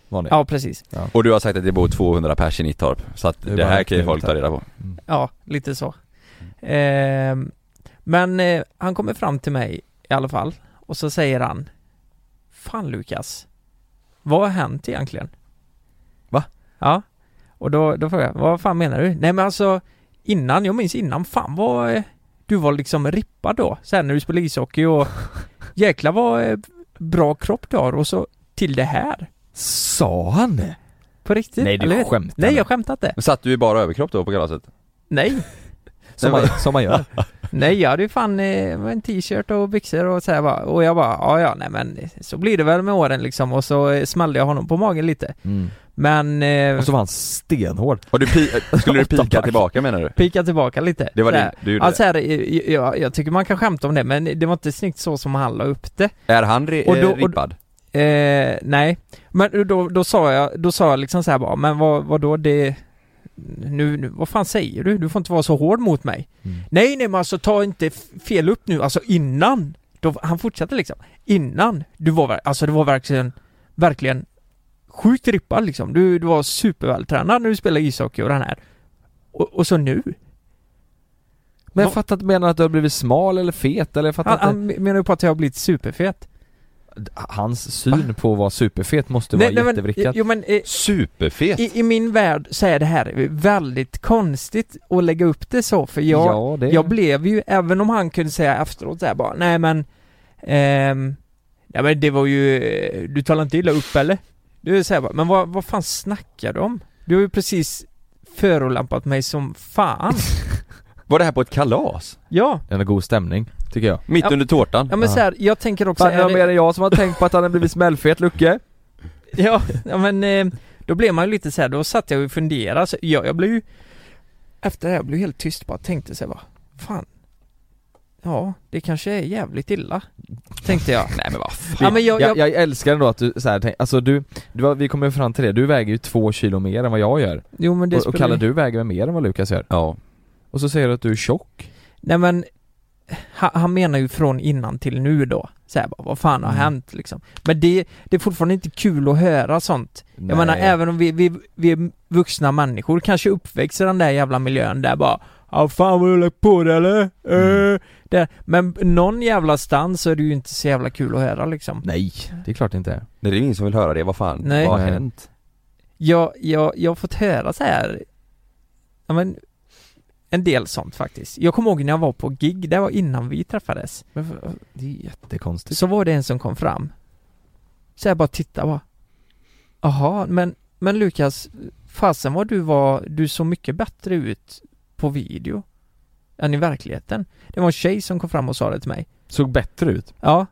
A: Var ni?
D: Ja, precis
C: Och du har sagt att det bor 200 pers i Nittorp. Så att
A: Det
C: det,
A: är bara
C: här kan ju
A: trevligt
C: folk ta
A: här.
C: reda på.
D: Ja, lite så. Ehm, men eh, han kommer fram till mig i alla fall och så säger han Fan Lukas, vad har hänt egentligen?
A: Va?
D: Ja, och då, då frågar jag, vad fan menar du? Nej men alltså innan, jag minns innan, fan vad eh, du var liksom rippad då, sen när du spelade ishockey
A: [LAUGHS]
D: och jäklar vad eh, bra kropp du har och så till det här,
A: Sa han det?
D: på riktigt.
A: Nej, du
D: Typ. eller hur?
A: skämtar
D: Nej
A: med.
D: jag skämtar inte.
C: Satt du i bara överkropp då på kalaset?
D: Nej.
A: Som man, som
D: [LAUGHS]
A: man gör?
D: Nej jag hade ju fan eh, med en t-shirt och byxor och så här bara, och jag bara ja ja nej men så blir det väl med åren liksom och så eh, smällde jag honom på magen lite men eh,
A: Mm. Och så var han stenhård
C: Har du pi- skulle du
A: Åtta
C: pika
A: pack.
C: tillbaka menar du?
D: pika tillbaka lite
C: Det var
D: så här.
C: det du gjorde?
D: Alltså här, eh, jag, jag tycker man kan skämta om det men det var inte snyggt så som han la upp det
C: Är han ri-
D: Och då-
C: eh,
D: och-
C: rippad?
D: eh, Nej men då, då sa jag då sa jag liksom så här bara men vad, vad då det nu, nu, vad fan säger du? Du får inte vara så hård mot mig Nej nej men alltså ta inte f- fel upp nu, alltså innan! Då, han fortsatte liksom, innan, du var, ver- alltså det var verkligen, verkligen sjukt rippad liksom. Du, du var supervältränad när du spelade ishockey och den här. Och, och så nu.
A: Men jag
D: Va-
A: fattar inte, menar han att du har blivit smal eller fet eller jag fattar
D: Han,
A: inte
D: han menar ju på att jag har blivit superfet.
A: Hans syn på att vara superfet måste vara
D: men,
A: jättevrickat
D: jo, men eh,
C: Superfet!
D: i, i min värld så är det här väldigt konstigt att lägga upp det så för jag,
A: ja, det...
D: Jag blev ju, även om han kunde säga efteråt så här bara, nej men ehm, Nej men det var ju, eh, du talar inte illa upp eller? Du säger bara, men vad, vad fan snackar du om? Du har ju precis förolämpat mig som [LAUGHS] fan
C: Var det här på ett kalas?
D: Ja,
A: En god stämning, tycker jag
C: Mitt
D: Ja.
C: under tårtan?
D: ja men
A: Ja.
D: så här, jag tänker också
A: Fan,
D: är
A: är det mer
D: det,
A: än jag som har tänkt på att han har blivit smällfet Lucke?
D: [LAUGHS] ja, ja men eh, då blev man ju lite så här, då satt jag och funderade, så jag, jag blev ju Efter det här jag blev helt tyst bara, tänkte så här bara, fan Ja, det kanske är jävligt illa Tänkte jag [LAUGHS] Nej men vad fan ja, men jag, jag,
A: jag, jag älskar ändå att du så här, tänk, alltså du, du, har- vi kommer ju fram till det, du väger ju två kilo mer än vad jag gör
D: Jo men det
A: Och, och
D: spelar
A: Kalle
D: ju-
A: du väger väl mer än vad Lukas gör?
C: Ja.
A: Och så säger du att du är tjock?
D: Nej men ha- han menar ju från innan till nu då. Så här, bara, vad fan har
A: Mm.
D: hänt liksom. Men det, det är fortfarande inte kul att höra sånt. Jag menar även om vi, vi, vi är vuxna människor, kanske uppväxer i den där jävla miljön där bara Ja fan vad du har lagt på det eller? Mm.
A: Mm.
D: Det, men någon jävla stans så är det ju inte så jävla kul att höra liksom.
A: Nej, det är klart det inte är
C: Nej, det är ingen som vill höra det, vad fan?
D: Nej.
C: Vad har
A: Nej.
C: hänt?
D: jag, jag, jag har fått höra så här ja, men, en del sånt faktiskt. Jag kommer ihåg när jag var på gig, det var innan vi träffades,
A: Men för- det är jättekonstigt
D: så var det en som kom fram. Så jag bara tittade bara. Jaha, men, men Lukas, fasen vad du var, du såg mycket bättre ut på video än i verkligheten. Det var en tjej som kom fram och sa det till mig.
H: Såg bättre ut.
D: Ja.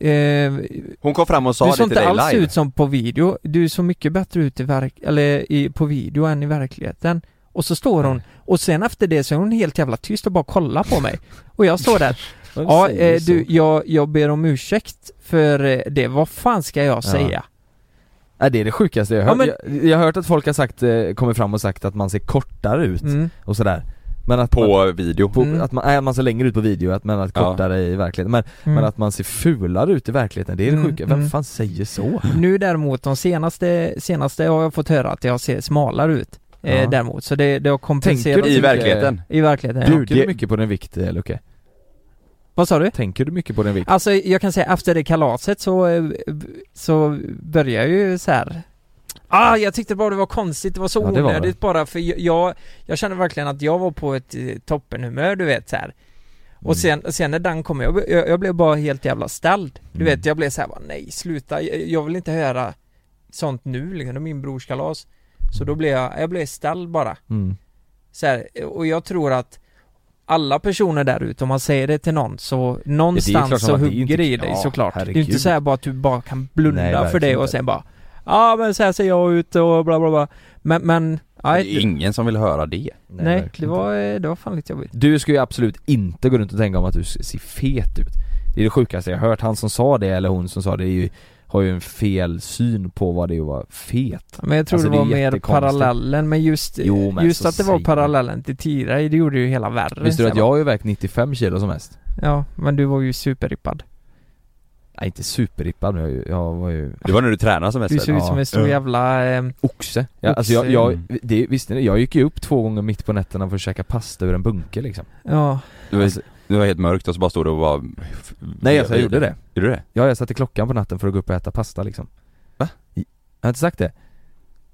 D: Eh,
H: Hon kom fram och sa
D: du
H: det
D: såg
H: till
D: inte
H: dig
D: alls
H: live.
D: ut som på video, du såg mycket bättre ut i verk, eller i, på video än i verkligheten Och så står hon, och sen efter det så är hon helt jävla tyst och bara kollar på mig Och jag står
H: [LAUGHS]
D: där, ja eh, du, jag, jag ber om ursäkt för eh, det, vad fan ska jag säga?
A: Nej, det är det sjukaste jag har hört.
D: Ja,
A: jag, jag har hört att folk har sagt, eh, kommit fram och sagt att man ser kortare ut
D: Mm.
A: och sådär Men att man,
C: På video.
A: på,
D: Mm.
A: att man, nej, man ser längre ut på video, att, men att
C: Ja.
A: kortare i verkligheten men,
D: Mm.
A: men att man ser fulare ut i verkligheten, det är det
D: Mm,
A: sjuka, vem
D: mm.
A: fan säger så?
D: Nu däremot, de senaste, senaste har jag fått höra att jag ser smalare ut eh,
A: Ja.
D: Däremot, så det, det har kompenserat
A: du
C: I
A: mycket-
C: verkligheten.
D: i verkligheten ja.
A: Tänker
H: det-
A: Äh, du mycket på din vikt eh, Luke?
D: Vad sa du?
A: Tänker du mycket på din vikt?
D: Alltså jag kan säga efter det kalaset så, eh, b- så börjar jag ju så här. Ah, jag tyckte bara det var konstigt, det var så
A: Ja, det var det.
D: onödigt bara för jag- jag, jag kände verkligen att jag var på ett eh, toppenhumör du vet så här. Och
A: Mm.
D: sen, sen när Dan kom, jag, jag, jag blev bara helt jävla ställd Du
A: Mm.
D: vet, jag blev så här, bara, nej sluta, jag, jag vill inte höra sånt nu liksom, det är min brors kalas Så då blev jag, jag blev ställd bara
A: Mm.
D: så här, och jag tror att alla personer där ute, om man säger det till någon så någonstans
A: klart som
D: så
A: att det är
D: hugger
A: inte-
D: det i dig
A: Ja,
D: såklart. Det är
A: herregud.
D: inte så här bara att du bara kan blunda
A: Nej,
D: för det
A: verkligen
D: och
A: inte.
D: sen bara Ja men så här ser jag ut och bla bla bla. Men, men,
C: Det
D: aj,
C: är ingen som vill höra det.
D: nej det
A: verkligen inte.
D: var, eh, det var fan lite jobbigt.
A: Du ska ju absolut inte gå runt och tänka om att du ser fet ut Det är det sjukaste jag har hört, han som sa det eller hon som sa det är ju, har ju en fel syn på vad det är att vara fet
D: Men jag tror
A: Alltså,
D: det
A: det är
D: var mer
A: jättekonstigt.
D: parallellen, men just, eh,
A: Jo, men
D: just
A: så
D: att det var
A: säger-
D: parallellen till Tirai, det gjorde ju hela värre.
A: Visste du att
D: Så
A: jag har ju vägt 95 kilo som mest?
D: bara, Ja, men du var ju superrippad.
A: Nej inte superrippad men jag, är ju- jag var ju
C: Det var när du tränade som mest
D: Du
C: väl?
D: såg ut
A: Alltså, ja.
D: som en stor
A: Ja.
D: jävla... ehm,
A: oxe ja, Alltså jag,
D: Oxe.
A: jag det, visste ni? Jag gick ju upp två gånger mitt på nätterna för att käka pasta ur en bunke liksom Alltså,
D: ja,
C: Det var, det var helt mörkt och så bara stod du och bara...
A: Nej alltså jag gjorde det
C: Gjorde du det?
A: Ja jag satte klockan på natten för att gå upp och äta pasta liksom Va? Jag har inte sagt det?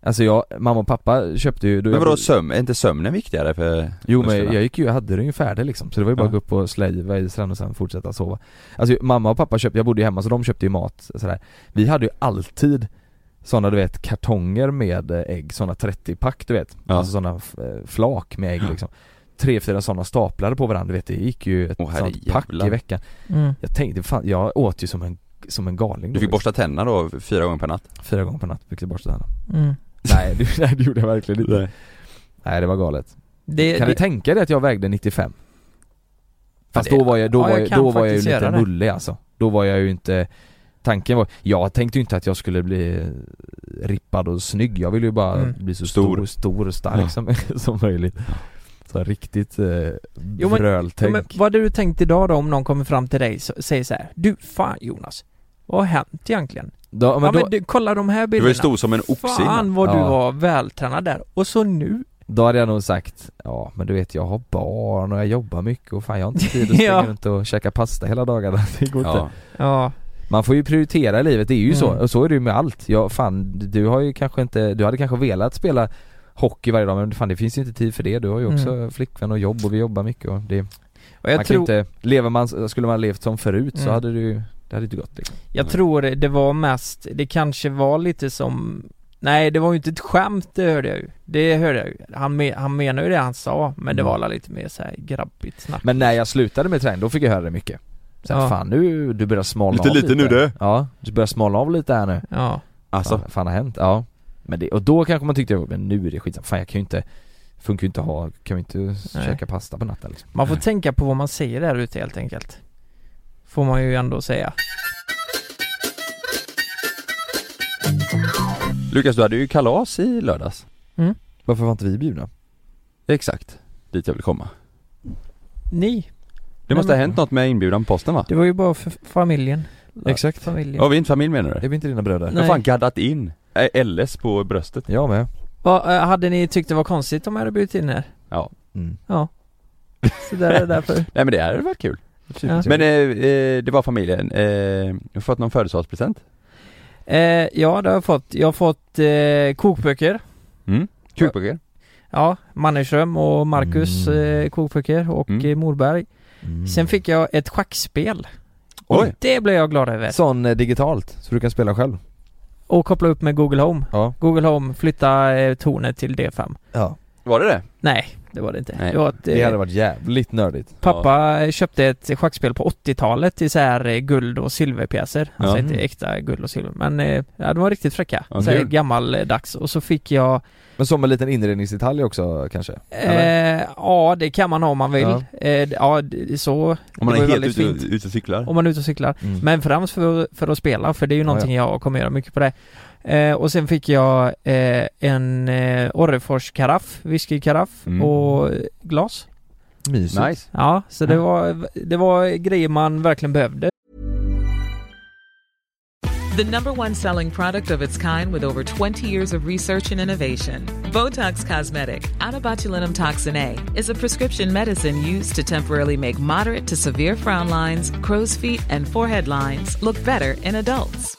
A: Alltså jag, mamma och pappa köpte ju då
C: Men
A: jag
C: vadå
A: bodde-
C: sömn, är inte sömnen viktigare för
A: Jo men
C: musklerna?
A: jag gick ju, jag hade det ju färdigt liksom, så det var ju bara
C: Ja.
A: att gå upp och släva i strand och sen fortsätta sova Alltså mamma och pappa köpte, jag bodde ju hemma så de köpte ju mat sådär Vi hade ju alltid sådana du vet kartonger med eh, ägg, sådana 30-pack du vet
C: Ja.
A: Alltså sådana eh, flak med ägg liksom Tre, fyra sådana staplade på varandra du vet, det gick ju ett
C: Åh,
A: sånt pack
C: herrejävlar.
A: i veckan
D: mm.
A: Jag tänkte fan, jag åt ju som en, som en galning liksom.
C: Du fick borsta tänderna då fyra gånger per natt?
A: Fyra gånger per natt fick jag borsta tänderna
D: Mm.
A: nej, det- [LAUGHS] nej det gjorde jag verkligen inte Nej, det var galet
D: Det,
A: Kan
D: det,
A: du tänka dig att jag vägde 95? Fast
D: Ja, det-
A: då var jag, då
D: ja,
A: var
D: jag
A: jag,
D: kan
A: då var jag ju
D: faktiskt
A: lite
D: göra det.
A: mullig alltså Då var jag ju inte Tanken var, jag tänkte ju inte att jag skulle bli eh, rippad och snygg Jag ville ju bara
D: Mm.
A: bli så
C: Stor.
A: stor, stor, och stark
C: Ja.
A: som, [LAUGHS] som möjligt Så riktigt eh,
D: Jo, men- Ja,
A: vröltänk
D: men vad hade du tänkt idag då om någon kommer fram till dig och säger så här, Du, fan Jonas, vad har hänt egentligen?
A: Då- men
D: ja,
A: då,
D: men du, kolla de här
C: Du
D: bilderna.
C: var ju stor som en oxe innan.
D: Fan vad du
A: Ja.
D: var vältränad där. Och så nu.
A: då hade jag nog sagt Ja men du vet jag har barn och jag jobbar mycket och fan jag har inte
D: [LAUGHS]
A: tid att springa
D: Ja.
A: runt och käka pasta hela dagarna [LAUGHS] Det går inte
C: Ja.
D: Ja.
A: Man får ju prioritera i livet, det är ju så.
D: Mm.
A: Och så är det ju med allt. Ja, fan, du har ju kanske inte, du hade kanske velat spela hockey varje dag men fan det finns ju inte tid för det. Du har ju också
D: Mm.
A: flickvän och jobb och vi jobbar mycket och det,
D: Och jag
A: man
D: tror,
A: kan ju inte, lever man, skulle man levt som förut så
D: Mm.
A: hade du det hade inte gått liksom.
D: jag tror det var mest, det kanske var lite som Nej det var ju inte ett skämt, det hörde jag ju. Det hörde jag ju. Han, me, han menade ju det han sa, men det
A: Mm.
D: var alla lite mer så här grabbigt snack.
A: Men när jag slutade med träning, då fick jag höra det mycket. Så här,
D: Ja.
A: fan nu, du börjar smalna
C: Lite
A: av
C: lite nu, du.
A: Ja, du börjar smalna av lite här nu.
D: Ja.
C: Alltså,
A: Fan, fan har hänt? Ja. Men det, och då kanske man tyckte, men nu är det skitsamma, fan jag kan ju inte, funkar ju inte att ha, kan ju inte käka pasta på natten liksom.
D: Man får tänka på vad man säger där ute helt enkelt. Får man ju ändå säga.
C: Lukas du hade ju kalas i lördags
A: Varför var inte vi bjudna?
C: Exakt, dit jag vill komma
D: Ni,
C: Det måste ha hänt något med inbjudan på posten va?
D: det var ju bara för familjen.
A: Exakt.
D: familjen.
C: Ja vi är inte familj menar
A: Är
C: du?
A: vi inte dina bröder?
C: Jag har fan gaddat in eh, LS på bröstet
A: Jag med.
D: Vad eh, hade ni tyckt det var konstigt om jag hade bjudit in er?
A: Mm.
D: Ja. Så där
C: [LAUGHS]
D: är det därför.
C: Nej men det hade varit kul
D: Ja. eh,
C: Men eh, eh, det var familjen, eh, jag har fått någon födelsedagspresent?
D: Eh, ja, det har jag fått. Jag har fått eh, kokböcker.
C: Mm. Kukböcker?
D: Ja, Mannerström och Marcus eh, kokböcker och
C: Mm.
D: eh, Morberg.
A: Mm.
D: Sen fick jag ett schackspel.
C: Oj!
D: Det blev jag glad över.
A: Sån eh, digitalt, så du kan spela själv?
D: Och koppla upp med Google Home.
A: Ja
D: Google Home flytta eh, tornet till D5.
A: Ja,
C: Var det det?
D: Nej, det var det inte.
C: Nej.
D: Det var ett,
A: det
D: eh,
A: hade varit jävligt nördigt
D: Pappa köpte ett schackspel på 80-talet i så här eh, guld och silverpjäser. Alltså
A: Ja.
D: inte äkta guld och silver men eh, ja, de var riktigt fräcka.
C: Ja,
D: så här
C: kul.
D: gammaldags. Och så fick jag
A: Men som en liten inredningsdetalj också kanske?
D: Eh, ja det kan man ha om man vill.
A: Ja.
D: Ja, eh, ja det- så.
C: Om man
D: det var
C: är
D: ju
C: helt
D: väldigt
C: ute,
D: fint.
C: ute och cyklar?
D: Om man är ute och cyklar.
A: Mm.
D: Men främst för, för att spela, för det är ju
A: Ja,
D: någonting jag kommer göra mycket på det. Eh, och sen fick jag eh, en eh, Orrefors-karaff, whiskykaraff
C: Mm.
D: och glas.
A: Mysigt
C: Nice.
D: Ja, så det var, det var grejer man verkligen behövde.
H: The number one selling product of its kind with over 20 years of research and innovation. Botox Cosmetic, out of botulinum toxin A, is a prescription medicine used to temporarily make moderate to severe frown lines, crow's feet, and forehead lines look better in adults.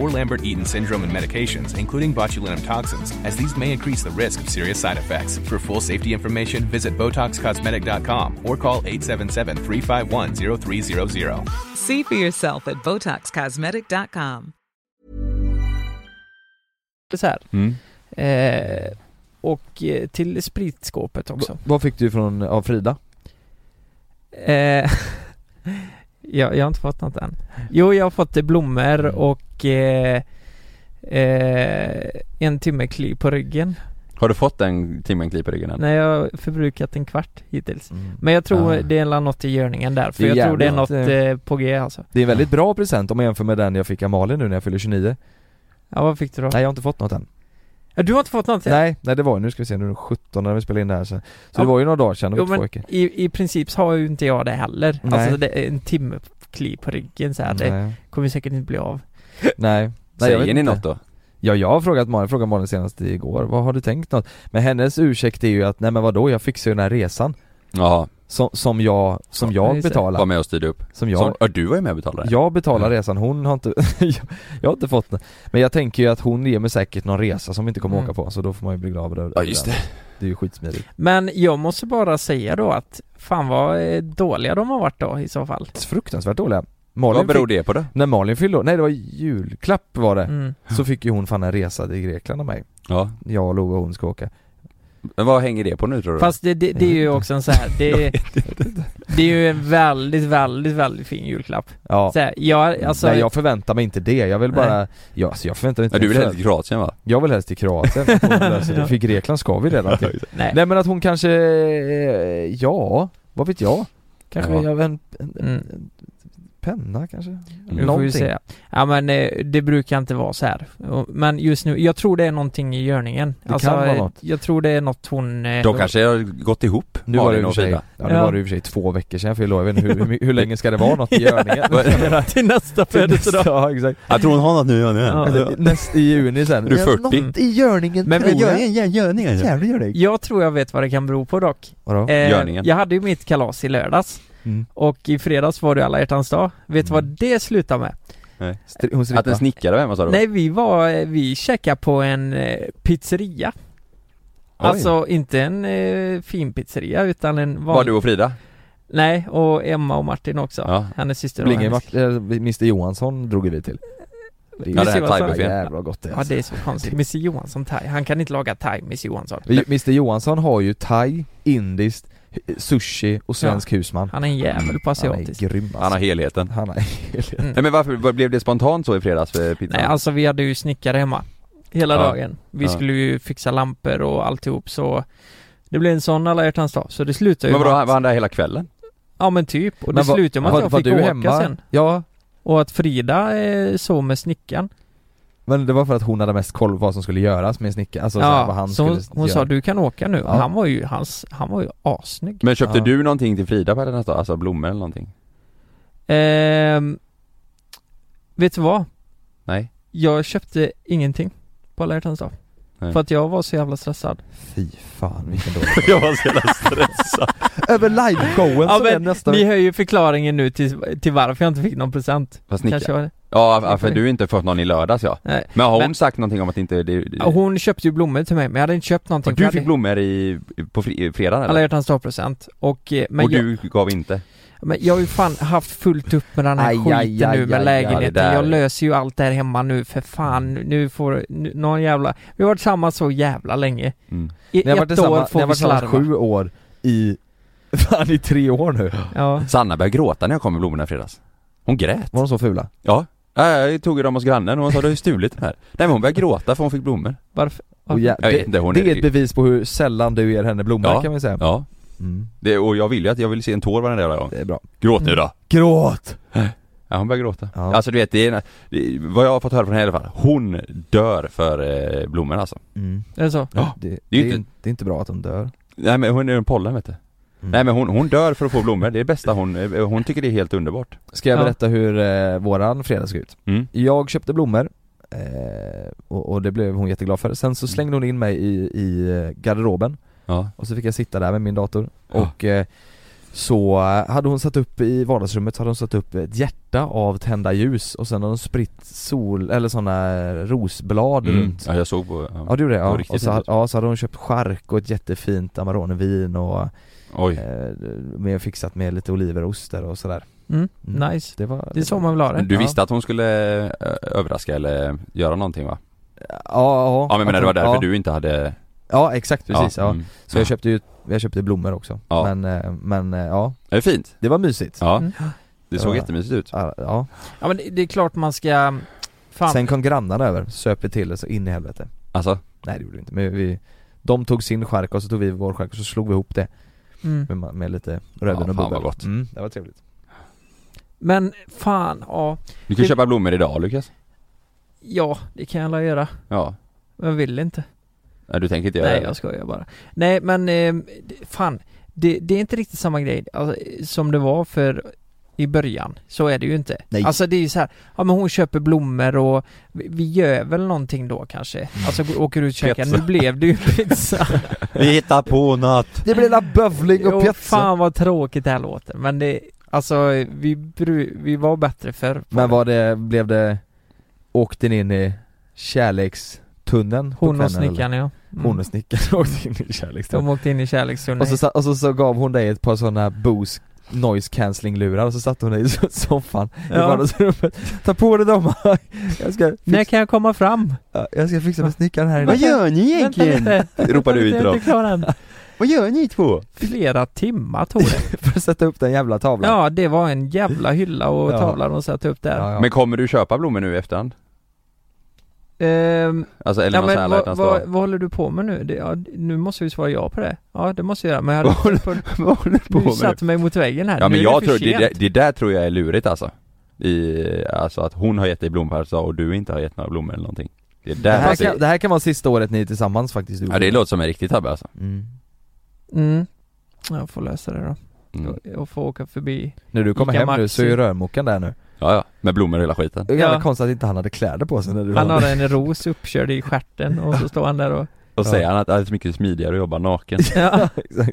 I: or Lambert-Eaton syndrome and medications, including botulinum toxins, as these may increase the risk of serious side effects. For full safety information, visit BotoxCosmetic.com or call 877-351-0300.
H: See for yourself at BotoxCosmetic.com.
D: Så här.
C: Mm.
D: Eh, och eh, till spritskåpet också.
A: V- Vad fick du från, av Frida?
D: Eh, [LAUGHS] jag, jag har inte fått något än. Jo, jag har fått eh, blommor
A: Mm.
D: och eh, eh, en timme kli på ryggen.
C: Har du fått den timmen kli på ryggen än?
D: Nej, jag har förbrukat en kvart hittills. Men jag tror
A: Ah.
D: det är något i görningen där, för
A: Det är
D: jag tror det är
A: jävligt,
D: något eh, på G alltså.
A: Det är en väldigt bra present om man jämför med den jag fick av Malin nu när jag fyller 29
D: Ja, vad fick du då?
A: Nej jag har inte fått något än
D: Ja, Du har inte fått något? än.
A: Nej, nej det var ju, nu ska vi se, nu är det 17 när vi spelar in det här så, så
D: Ja.
A: det var ju några dagar sedan, det
D: Jo,
A: var två
D: men
A: veckor
D: i, i princip så har ju inte jag det heller.
A: Nej.
D: Alltså det är en timme kli på ryggen så här. det
A: Nej,
D: kommer säkert inte bli av.
A: nej Nej, jag
C: Säger
A: vet
C: ni
A: inte.
C: något då?
A: Ja jag har frågat Malin, jag frågade Malin senast igår, vad har du tänkt något? Men hennes ursäkt är ju att, nej men vadå, jag fixar ju den här resan
C: Jaha,
A: Som, som jag, som
D: Ja,
A: jag
D: just det.
A: betalar,
C: var med och styrde upp.
A: som
C: Ja.
A: jag
C: Som, ja, du var ju med och betalade.
A: Jag betalar
C: Ja.
A: resan, hon har inte, [LAUGHS] jag, jag har inte fått den. Men jag tänker ju att hon ger mig säkert någon resa som vi inte kommer
D: Mm.
A: åka på, så då får man ju bli glad över det
C: Ja, just det.
A: Det är ju skitsmidigt
D: Men jag måste bara säga då att fan vad eh, dåliga de har varit då i så fall.
A: Fruktansvärt dåliga Malin
C: Vad beror
A: fick,
C: det på då?
A: När Malin fyllde år- nej det var julklapp var det,
D: Mm.
A: så fick ju hon fan en resa till Grekland av mig
C: Ja.
A: Jag och Lova och hon ska åka
C: Men vad hänger det på nu tror du?
D: Fast det, det, det är ju också en så här, det, det är ju en väldigt, väldigt, väldigt fin julklapp.
A: Ja, Mm.
D: Så här, jag, alltså,
A: nej jag förväntar mig inte det, jag vill bara, ja, alltså jag förväntar mig inte
C: ja, du vill
A: jag
C: helst till Kroatien va?
A: Jag vill helst till Kroatien,
D: [LAUGHS]
A: ja. för Grekland ska vi redan till
D: nej,
A: Nej men att hon kanske, eh, ja, vad vet jag? Kanske
C: Ja.
A: jag, en, en,
D: Mm.
A: en penna kanske?
D: nu får vi se. Ja men eh, det brukar inte vara så här. Och- Men just nu, jag tror det är någonting i görningen.
A: Det kan vara
D: eh,
A: något.
D: Jag tror det är något hon... eh,
C: De kanske har gått ihop,
A: Nu var det i
C: Malin
A: och
C: och
A: för sig,
C: Frida.
A: ja, nu
D: Ja.
A: var det i och för sig två veckor sedan jag fyllde år, jag vet inte hur, hur, hur länge ska det vara
D: [LAUGHS]
A: något
C: [LAUGHS]
A: i görningen? [LAUGHS]
D: Till nästa födelsedag.
A: Ja exakt,
C: Jag tror hon har något nu, ja, nu.
A: Eller, näst, i juni sen
C: Du är
A: Ja,
C: 40.
A: Något i görningen
D: Men
A: tror jag,
C: ja, gör ni
A: jävla görning
D: Jag tror jag vet vad det kan bero på dock.
A: Vadå?
D: Eh,
C: Görningen.
D: jag hade ju mitt kalas i lördags.
A: Mm.
D: Och i fredags var det alla hjärtans dag. Vet du vad
C: Mm.
D: det slutade med?
A: Stri- Hon
C: Att en
A: strippade?
C: snickare var hemma sa du?
D: Nej, vi var, vi checkade på en eh, pizzeria.
C: Oj.
D: Alltså inte en eh, fin pizzeria utan en
C: Var
D: vanlig...
C: du och Frida?
D: Nej, och Emma och Martin också.
C: Ja.
D: Hennes syster och
A: Blinge,
D: hennes...
A: Mart- eh, Mr Johansson drog ju vi till är-
D: Ja, det här
A: Mr. Johansson.
C: thaibuffén.
A: Jävla gott det
D: Ja,
A: alltså.
D: det är så
C: [LAUGHS]
D: konstigt. Mr Johansson thai. Han kan inte laga thai, Mr Johansson.
A: Mr Johansson har ju thai, indiskt, sushi och svensk husman
D: Han är en jävel på
A: Han är
D: asiatiskt.
A: grym alltså.
C: Han har helheten.
A: Han är
C: Nej men varför vad blev det spontant så i fredags för pizzan?
D: Nej, alltså vi hade ju snickare hemma. Hela
C: Ja.
D: dagen. Vi
C: Ja.
D: skulle ju fixa lampor och alltihop så... Det blev en sån alla hjärtans dag. Så det slutade ju
C: men vadå,
D: med
C: han-
D: att-
C: var han där hela kvällen?
D: Ja men typ. Och det
A: Men vad-
D: slutade med att
A: var-
D: jag
A: var
D: fick
A: du
D: åka
A: hemma?
D: sen.
A: Ja,
D: Och att Frida eh, sov med snickaren.
A: Men det var för att hon hade mest koll på vad som skulle göras med snickaren, alltså så här, vad han
D: så hon,
A: skulle
D: hon
A: göra.
D: sa du kan åka nu.
A: Ja.
D: Han var ju, hans, han var ju assnygg.
C: Men köpte
A: Ja.
C: du någonting till Frida på hennes dag? Alltså blommor eller någonting?
D: Ehm, vet du vad?
C: Nej?
D: Jag köpte ingenting på alla hjärtans dag.
C: Nej.
D: För att jag var så jävla stressad.
A: Fy fan vilken dålig [LAUGHS]
C: Jag var så jävla [LAUGHS] stressad
A: Över live-showen
D: Ja,
A: som är
D: men [LAUGHS]
A: nästa
D: Ni hör ju förklaringen nu till, till varför jag inte fick någon present.
C: Vad snickar?
D: Kanske var det.
C: Ja, ja, för du har inte fått någon i lördags ja
D: Nej.
C: Men har hon
D: Men-
C: sagt någonting om att inte det, det,
D: Ja, Hon köpte ju blommor till mig men jag hade inte köpt någonting.
C: Och
D: för jag
C: Du fick
D: hade-
C: blommor i, på fri, fredagen
D: Alla
C: eller?
D: hjärtans dag-present. Och, eh, men
C: Och
D: jag-
C: du gav inte?
D: Men jag har ju fan haft fullt upp med den här
A: Aj,
D: skiten
A: aj, aj,
D: nu med
A: aj,
C: aj,
D: lägenheten.
C: det där.
D: jag löser ju allt där hemma nu för fan.
A: Mm.
D: Nu får nu, någon jävla... Vi har varit samma så jävla länge.
C: Mm.
D: I
A: Ni har varit
D: ett år
A: tillsammans, ni
D: får
A: har
D: vi
A: varit tillsammans
D: slarva.
A: sju år i, [LAUGHS] fan i tre år nu
D: Ja.
C: Sanna började gråta när jag kom med blommorna i fredags Hon grät
A: Var de så fula?
C: Ja Ja, jag tog ju dem hos grannen och hon sa du har ju stulit den här Nej men hon började gråta för hon fick blommor
D: Varför?
A: Och jä-
C: Jag vet
A: det,
C: inte, hon
A: det
C: är-
A: är ett bevis på hur sällan du ger henne blommor
C: Ja.
A: kan man säga
C: Ja
A: mm.
C: det, och jag vill ju att jag vill se en tår varenda jävla gång
A: Det är bra
C: Gråt nu då!
A: Gråt!
C: Ja hon börjar gråta
A: Mm. Ja.
C: Alltså du vet, det är, det, vad jag har fått höra från henne i alla fall Hon dör för eh, blommorna alltså
A: Mm.
D: Är det så?
C: Ja,
A: Det,
C: det är ju
A: det, är,
C: inte-
A: det är inte bra att de dör
C: Nej men hon är en pollen vet du
A: Mm.
C: Nej men hon, hon dör för att få blommor, det är det bästa hon, eh, hon tycker det är helt underbart
A: Ska jag
D: Ja.
A: berätta hur eh, våran fredag såg ut?
C: Mm.
A: Jag köpte blommor eh, och, och det blev hon jätteglad för. Sen
C: Mm.
A: så slängde hon in mig i, i eh, garderoben
C: Ja,
A: och så fick jag sitta där med min dator
C: Ja.
A: och eh, så eh, hade hon satt upp i vardagsrummet så hade hon satt upp ett hjärta av tända ljus och sen hade hon spritt sol, eller sådana rosblad
C: mm.
A: runt
C: ja jag såg på, ja.
A: Ja du gjorde det?
C: Det var
A: Ja.
C: riktigt
A: Och så,
C: fint.
A: hade- ja, så hade hon köpt chark och ett jättefint Amaronevin och
C: oj
A: eh, med fixat med lite oliver och ostar och sådär
D: Mm.
A: Mm.
D: Nice.
A: Det var
D: Det är så
A: var-
D: man vill ha det.
C: Men du
A: Ja.
C: visste att hon skulle eh, överraska eller göra någonting va?
A: Ja, ja,
C: Ja men jag menar det var därför
A: ja.
C: du inte hade
A: Ja exakt precis, ja.
C: mm.
A: Så
C: Ja.
A: jag köpte ju, jag köpte blommor också.
C: Ja.
A: Men, eh, men eh, ja,
C: Det är fint,
A: det var mysigt. Ja.
C: ja
D: Mm.
C: Det såg
A: Ja.
C: jättemysigt ut
A: ja.
D: Ja men det, det är klart man ska... Fan.
A: Sen kom grannarna över, söp vi till det så in i helvete.
C: Alltså,
A: Nej det gjorde vi inte, men vi, de tog sin skärk och så tog vi vår skärk och så slog vi ihop det
D: Mm.
A: med, ma- med lite rödvin
C: Ja, fan
A: och bubbel.
C: vad gott.
A: Mm, det var trevligt.
D: Men fan, ja.
C: du kan
D: Det-
C: köpa blommor idag Lukas
D: Ja, det kan jag alla göra.
C: Ja,
D: Men jag vill inte.
C: Nej, du tänker inte göra
D: Nej
C: det?
D: jag skojar bara. Nej men, eh, det- fan. Det, det är inte riktigt samma grej alltså, eh, som det var för i början. Så är det ju inte.
A: Nej.
D: Alltså det är ju så här, ja men hon köper blommor och vi, vi gör väl någonting då kanske.
A: Mm.
D: Alltså gå- åker ut och käkar,
C: Pizza.
D: nu blev
A: [LAUGHS]
D: det ju pizza.
C: Vi hittar på något!
A: Det blev lilla bövling och
D: Jo,
A: pjätsa.
D: fan vad tråkigt det här låter. Men det, alltså vi, bru, vi var bättre förr.
A: Men var det, blev det, åkte ni in i kärlekstunneln? på
D: Hon och
A: kvällen, eller?
D: snickaren ja. Mm.
A: Hon och snickaren [LAUGHS] åkte in i kärlekstunneln.
D: De åkte in i kärlekstunneln.
A: Och så, sa- och så, så gav hon dig ett par sådana Bose noise cancelling lurar och så satte hon dig i so- soffan i
D: Ja.
A: vardagsrummet Ta på dig dem! [LAUGHS] Jag ska,
D: När
A: fix,
D: kan jag komma fram?
A: ja, jag ska fixa med snickaren här
C: Vad
A: inne
C: gör ni
D: Vänta
C: egentligen?
D: lite.
C: [LAUGHS] Ropar du
D: Jag
C: ut
D: är
C: dem.
D: inte klar än.
C: Vad gör ni två?
D: Flera timmar tog
C: [LAUGHS]
D: det.
A: för att sätta upp den jävla tavlan
D: Ja, det var en jävla hylla och
A: Ja.
D: tavla de satte upp där.
A: ja, ja.
C: Men kommer du köpa blommor nu i efterhand?
D: Ehm,
C: Alltså eller
D: ja,
C: någon sån här
D: men
C: alla
D: vad,
C: hjärtans dag?
D: vad, vad håller du på med nu? Det, ja, nu måste vi svara ja på det. Ja, det måste jag göra. Men jag hade på,
C: [LAUGHS] Vad håller du på
D: du
C: med?
D: satte mig mot väggen här.
C: Ja
D: nu
C: men
D: är
C: jag
D: det
C: tror,
D: för
C: det,
D: sent.
C: det där tror jag är lurigt alltså I, Alltså att hon har gett dig blommor på hennes dag och du inte har gett några blommor eller någonting Det är
A: det,
C: där
A: här
C: man ser-
A: kan, det här kan vara sista året ni är tillsammans faktiskt
C: Ja det låter som en riktig tabbe alltså
A: mm.
D: Mm. Jag får lösa det då.
C: mm.
D: Och få åka förbi.
A: När du kommer
D: Ica
A: hem nu så är ju
D: Maxi.
A: rörmokaren där nu
C: Ja ja, med blommor och hela skiten
A: Det är jävla
D: Ja.
A: konstigt att inte han hade kläder på sig när du
D: Han
A: var- [LAUGHS]
D: har en ros uppkörd i stjärten och så står han där
C: [LAUGHS]
D: och...
C: Och
A: Ja.
C: säger han att "Ah, det är så mycket smidigare att jobba naken [LAUGHS]
D: Ja,
A: Exakt.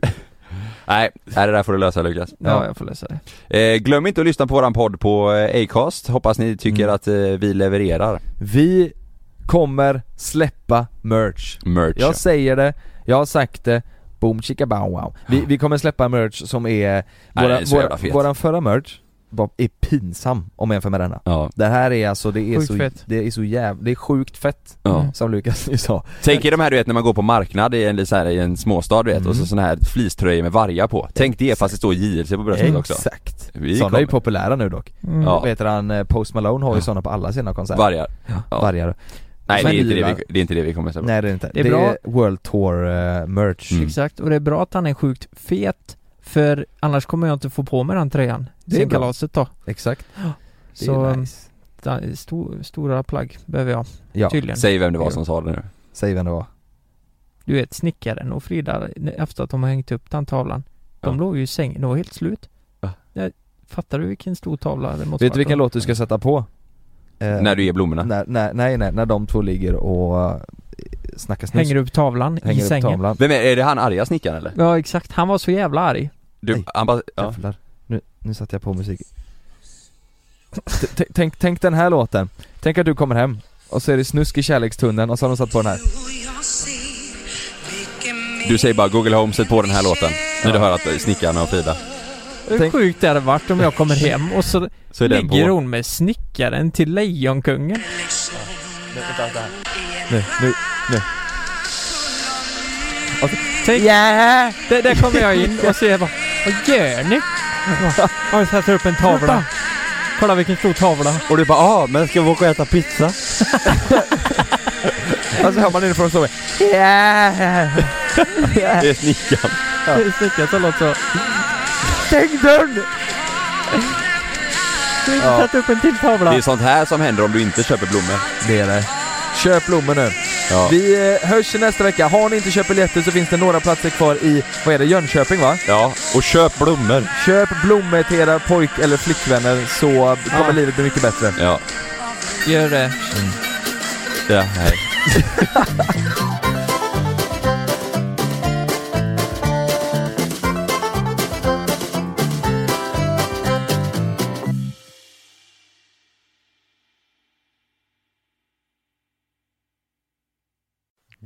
C: Nej, nej, det där får du lösa Lukas
D: ja jag får lösa det.
C: eh, Glöm inte att lyssna på våran podd på eh, Acast Hoppas ni tycker
A: Mm.
C: att eh, vi levererar
A: Vi kommer släppa merch
C: merch ja.
A: Jag säger det, jag har sagt det, boom chicka bow wow. Vi, vi kommer släppa merch som är,
C: Nej,
A: våra,
C: den är så jävla
A: våra,
C: fet.
A: våran förra merch var, är pinsam om jämför med denna.
C: ja,
A: Det här är alltså, det är
D: Sjukt
A: så,
D: fett.
A: det är så jävla, det är sjukt fett
C: ja.
D: Mm.
A: som Lukas nyss sa.
C: Tänk er de här du vet när man går på marknad i en, så här, i en småstad du vet och så
A: Mm.
C: såna här fleecetröjor med vargar på Tänk det fast det står JLC på bröstet också
A: Exakt.
C: Vi
A: Sådana är
C: kommer.
A: ju populära nu dock.
D: Mm.
C: Ja.
A: Vad heter han, eh, Post Malone har ju sådana på alla sina konserter.
C: Vargar ja.
A: Vargar.
C: Nej det
A: Men-
C: är, inte det, vi, det är inte det vi kommer släppa
A: Nej det är inte.
D: Det är bra.
A: World Tour eh, merch.
C: Mm.
D: Exakt, och det är bra att han är sjukt fet För annars kommer jag inte få på mig den tröjan
A: Det är
D: Sen
A: bra.
D: kalaset då
A: Exakt. Det är
D: Så
A: nice.
D: jätte, stor, stora plagg behöver jag
A: Ja,
D: tydligen
C: Säg vem det var som sa det nu
A: säg vem det var
D: Du vet snickaren och Frida efter att de har hängt upp den tavlan De
C: Ja.
D: låg ju i sängen, de var helt slut
C: Va?
D: Jag- Fattar du vilken stor tavla det måste
A: Vet du
D: varit
A: vilken
D: då?
A: låt du ska sätta på? Eh,
C: När du ger blommorna
A: Mm. när, när, nej, nej, när de två ligger och eh, snackar snus
D: Hänger upp tavlan i
A: Hänger upp
D: sängen
A: tavlan
C: Vem är, är det han arga snickaren eller?
D: Ja exakt, han var så jävla arg
C: Du,
A: Nej.
C: han bara, ja.
A: Jävlar, nu, nu satte jag på musik T- t- tänk, tänk den här låten, tänk att du kommer hem och så är det snusk i kärlekstunneln och så har de satt på den här
C: Du säger bara Google Home, sätt på den här låten När du hör att eh, snickarna och Frida
D: Hur
A: Tänk-
D: sjukt det hade varit om jag kommer hem och
A: [LAUGHS]
D: så,
C: Så är den på
D: ligger hon med snickaren till Lejonkungen
A: Nu, nu, nu
D: Tänk, där, där kommer jag in och ser bara Vad gör
A: [LAUGHS]
D: ni? Har jag sätter upp en tavla Kolla vilken stor tavla
C: Och du bara ah, men ska vi åka och äta pizza?
A: [LAUGHS] Alltså hör man inifrån så
D: [LAUGHS]
C: Det är snickaren
D: Det är snickaren som låter så
A: Stäng dörren!
D: Du har inte satt upp en till tavla
C: Det är sånt här som händer om du inte köper blommor
A: Det är det Köp blommor nu
C: Ja,
A: Vi eh, hörs nästa vecka, har ni inte köpt biljetter så finns det några platser kvar i, vad är det, Jönköping va?
C: ja. och köp blommor
A: Köp blommor till era pojk eller flickvänner så kommer
D: Ja.
A: livet bli mycket bättre
C: Ja,
D: Gör det
C: ja, hej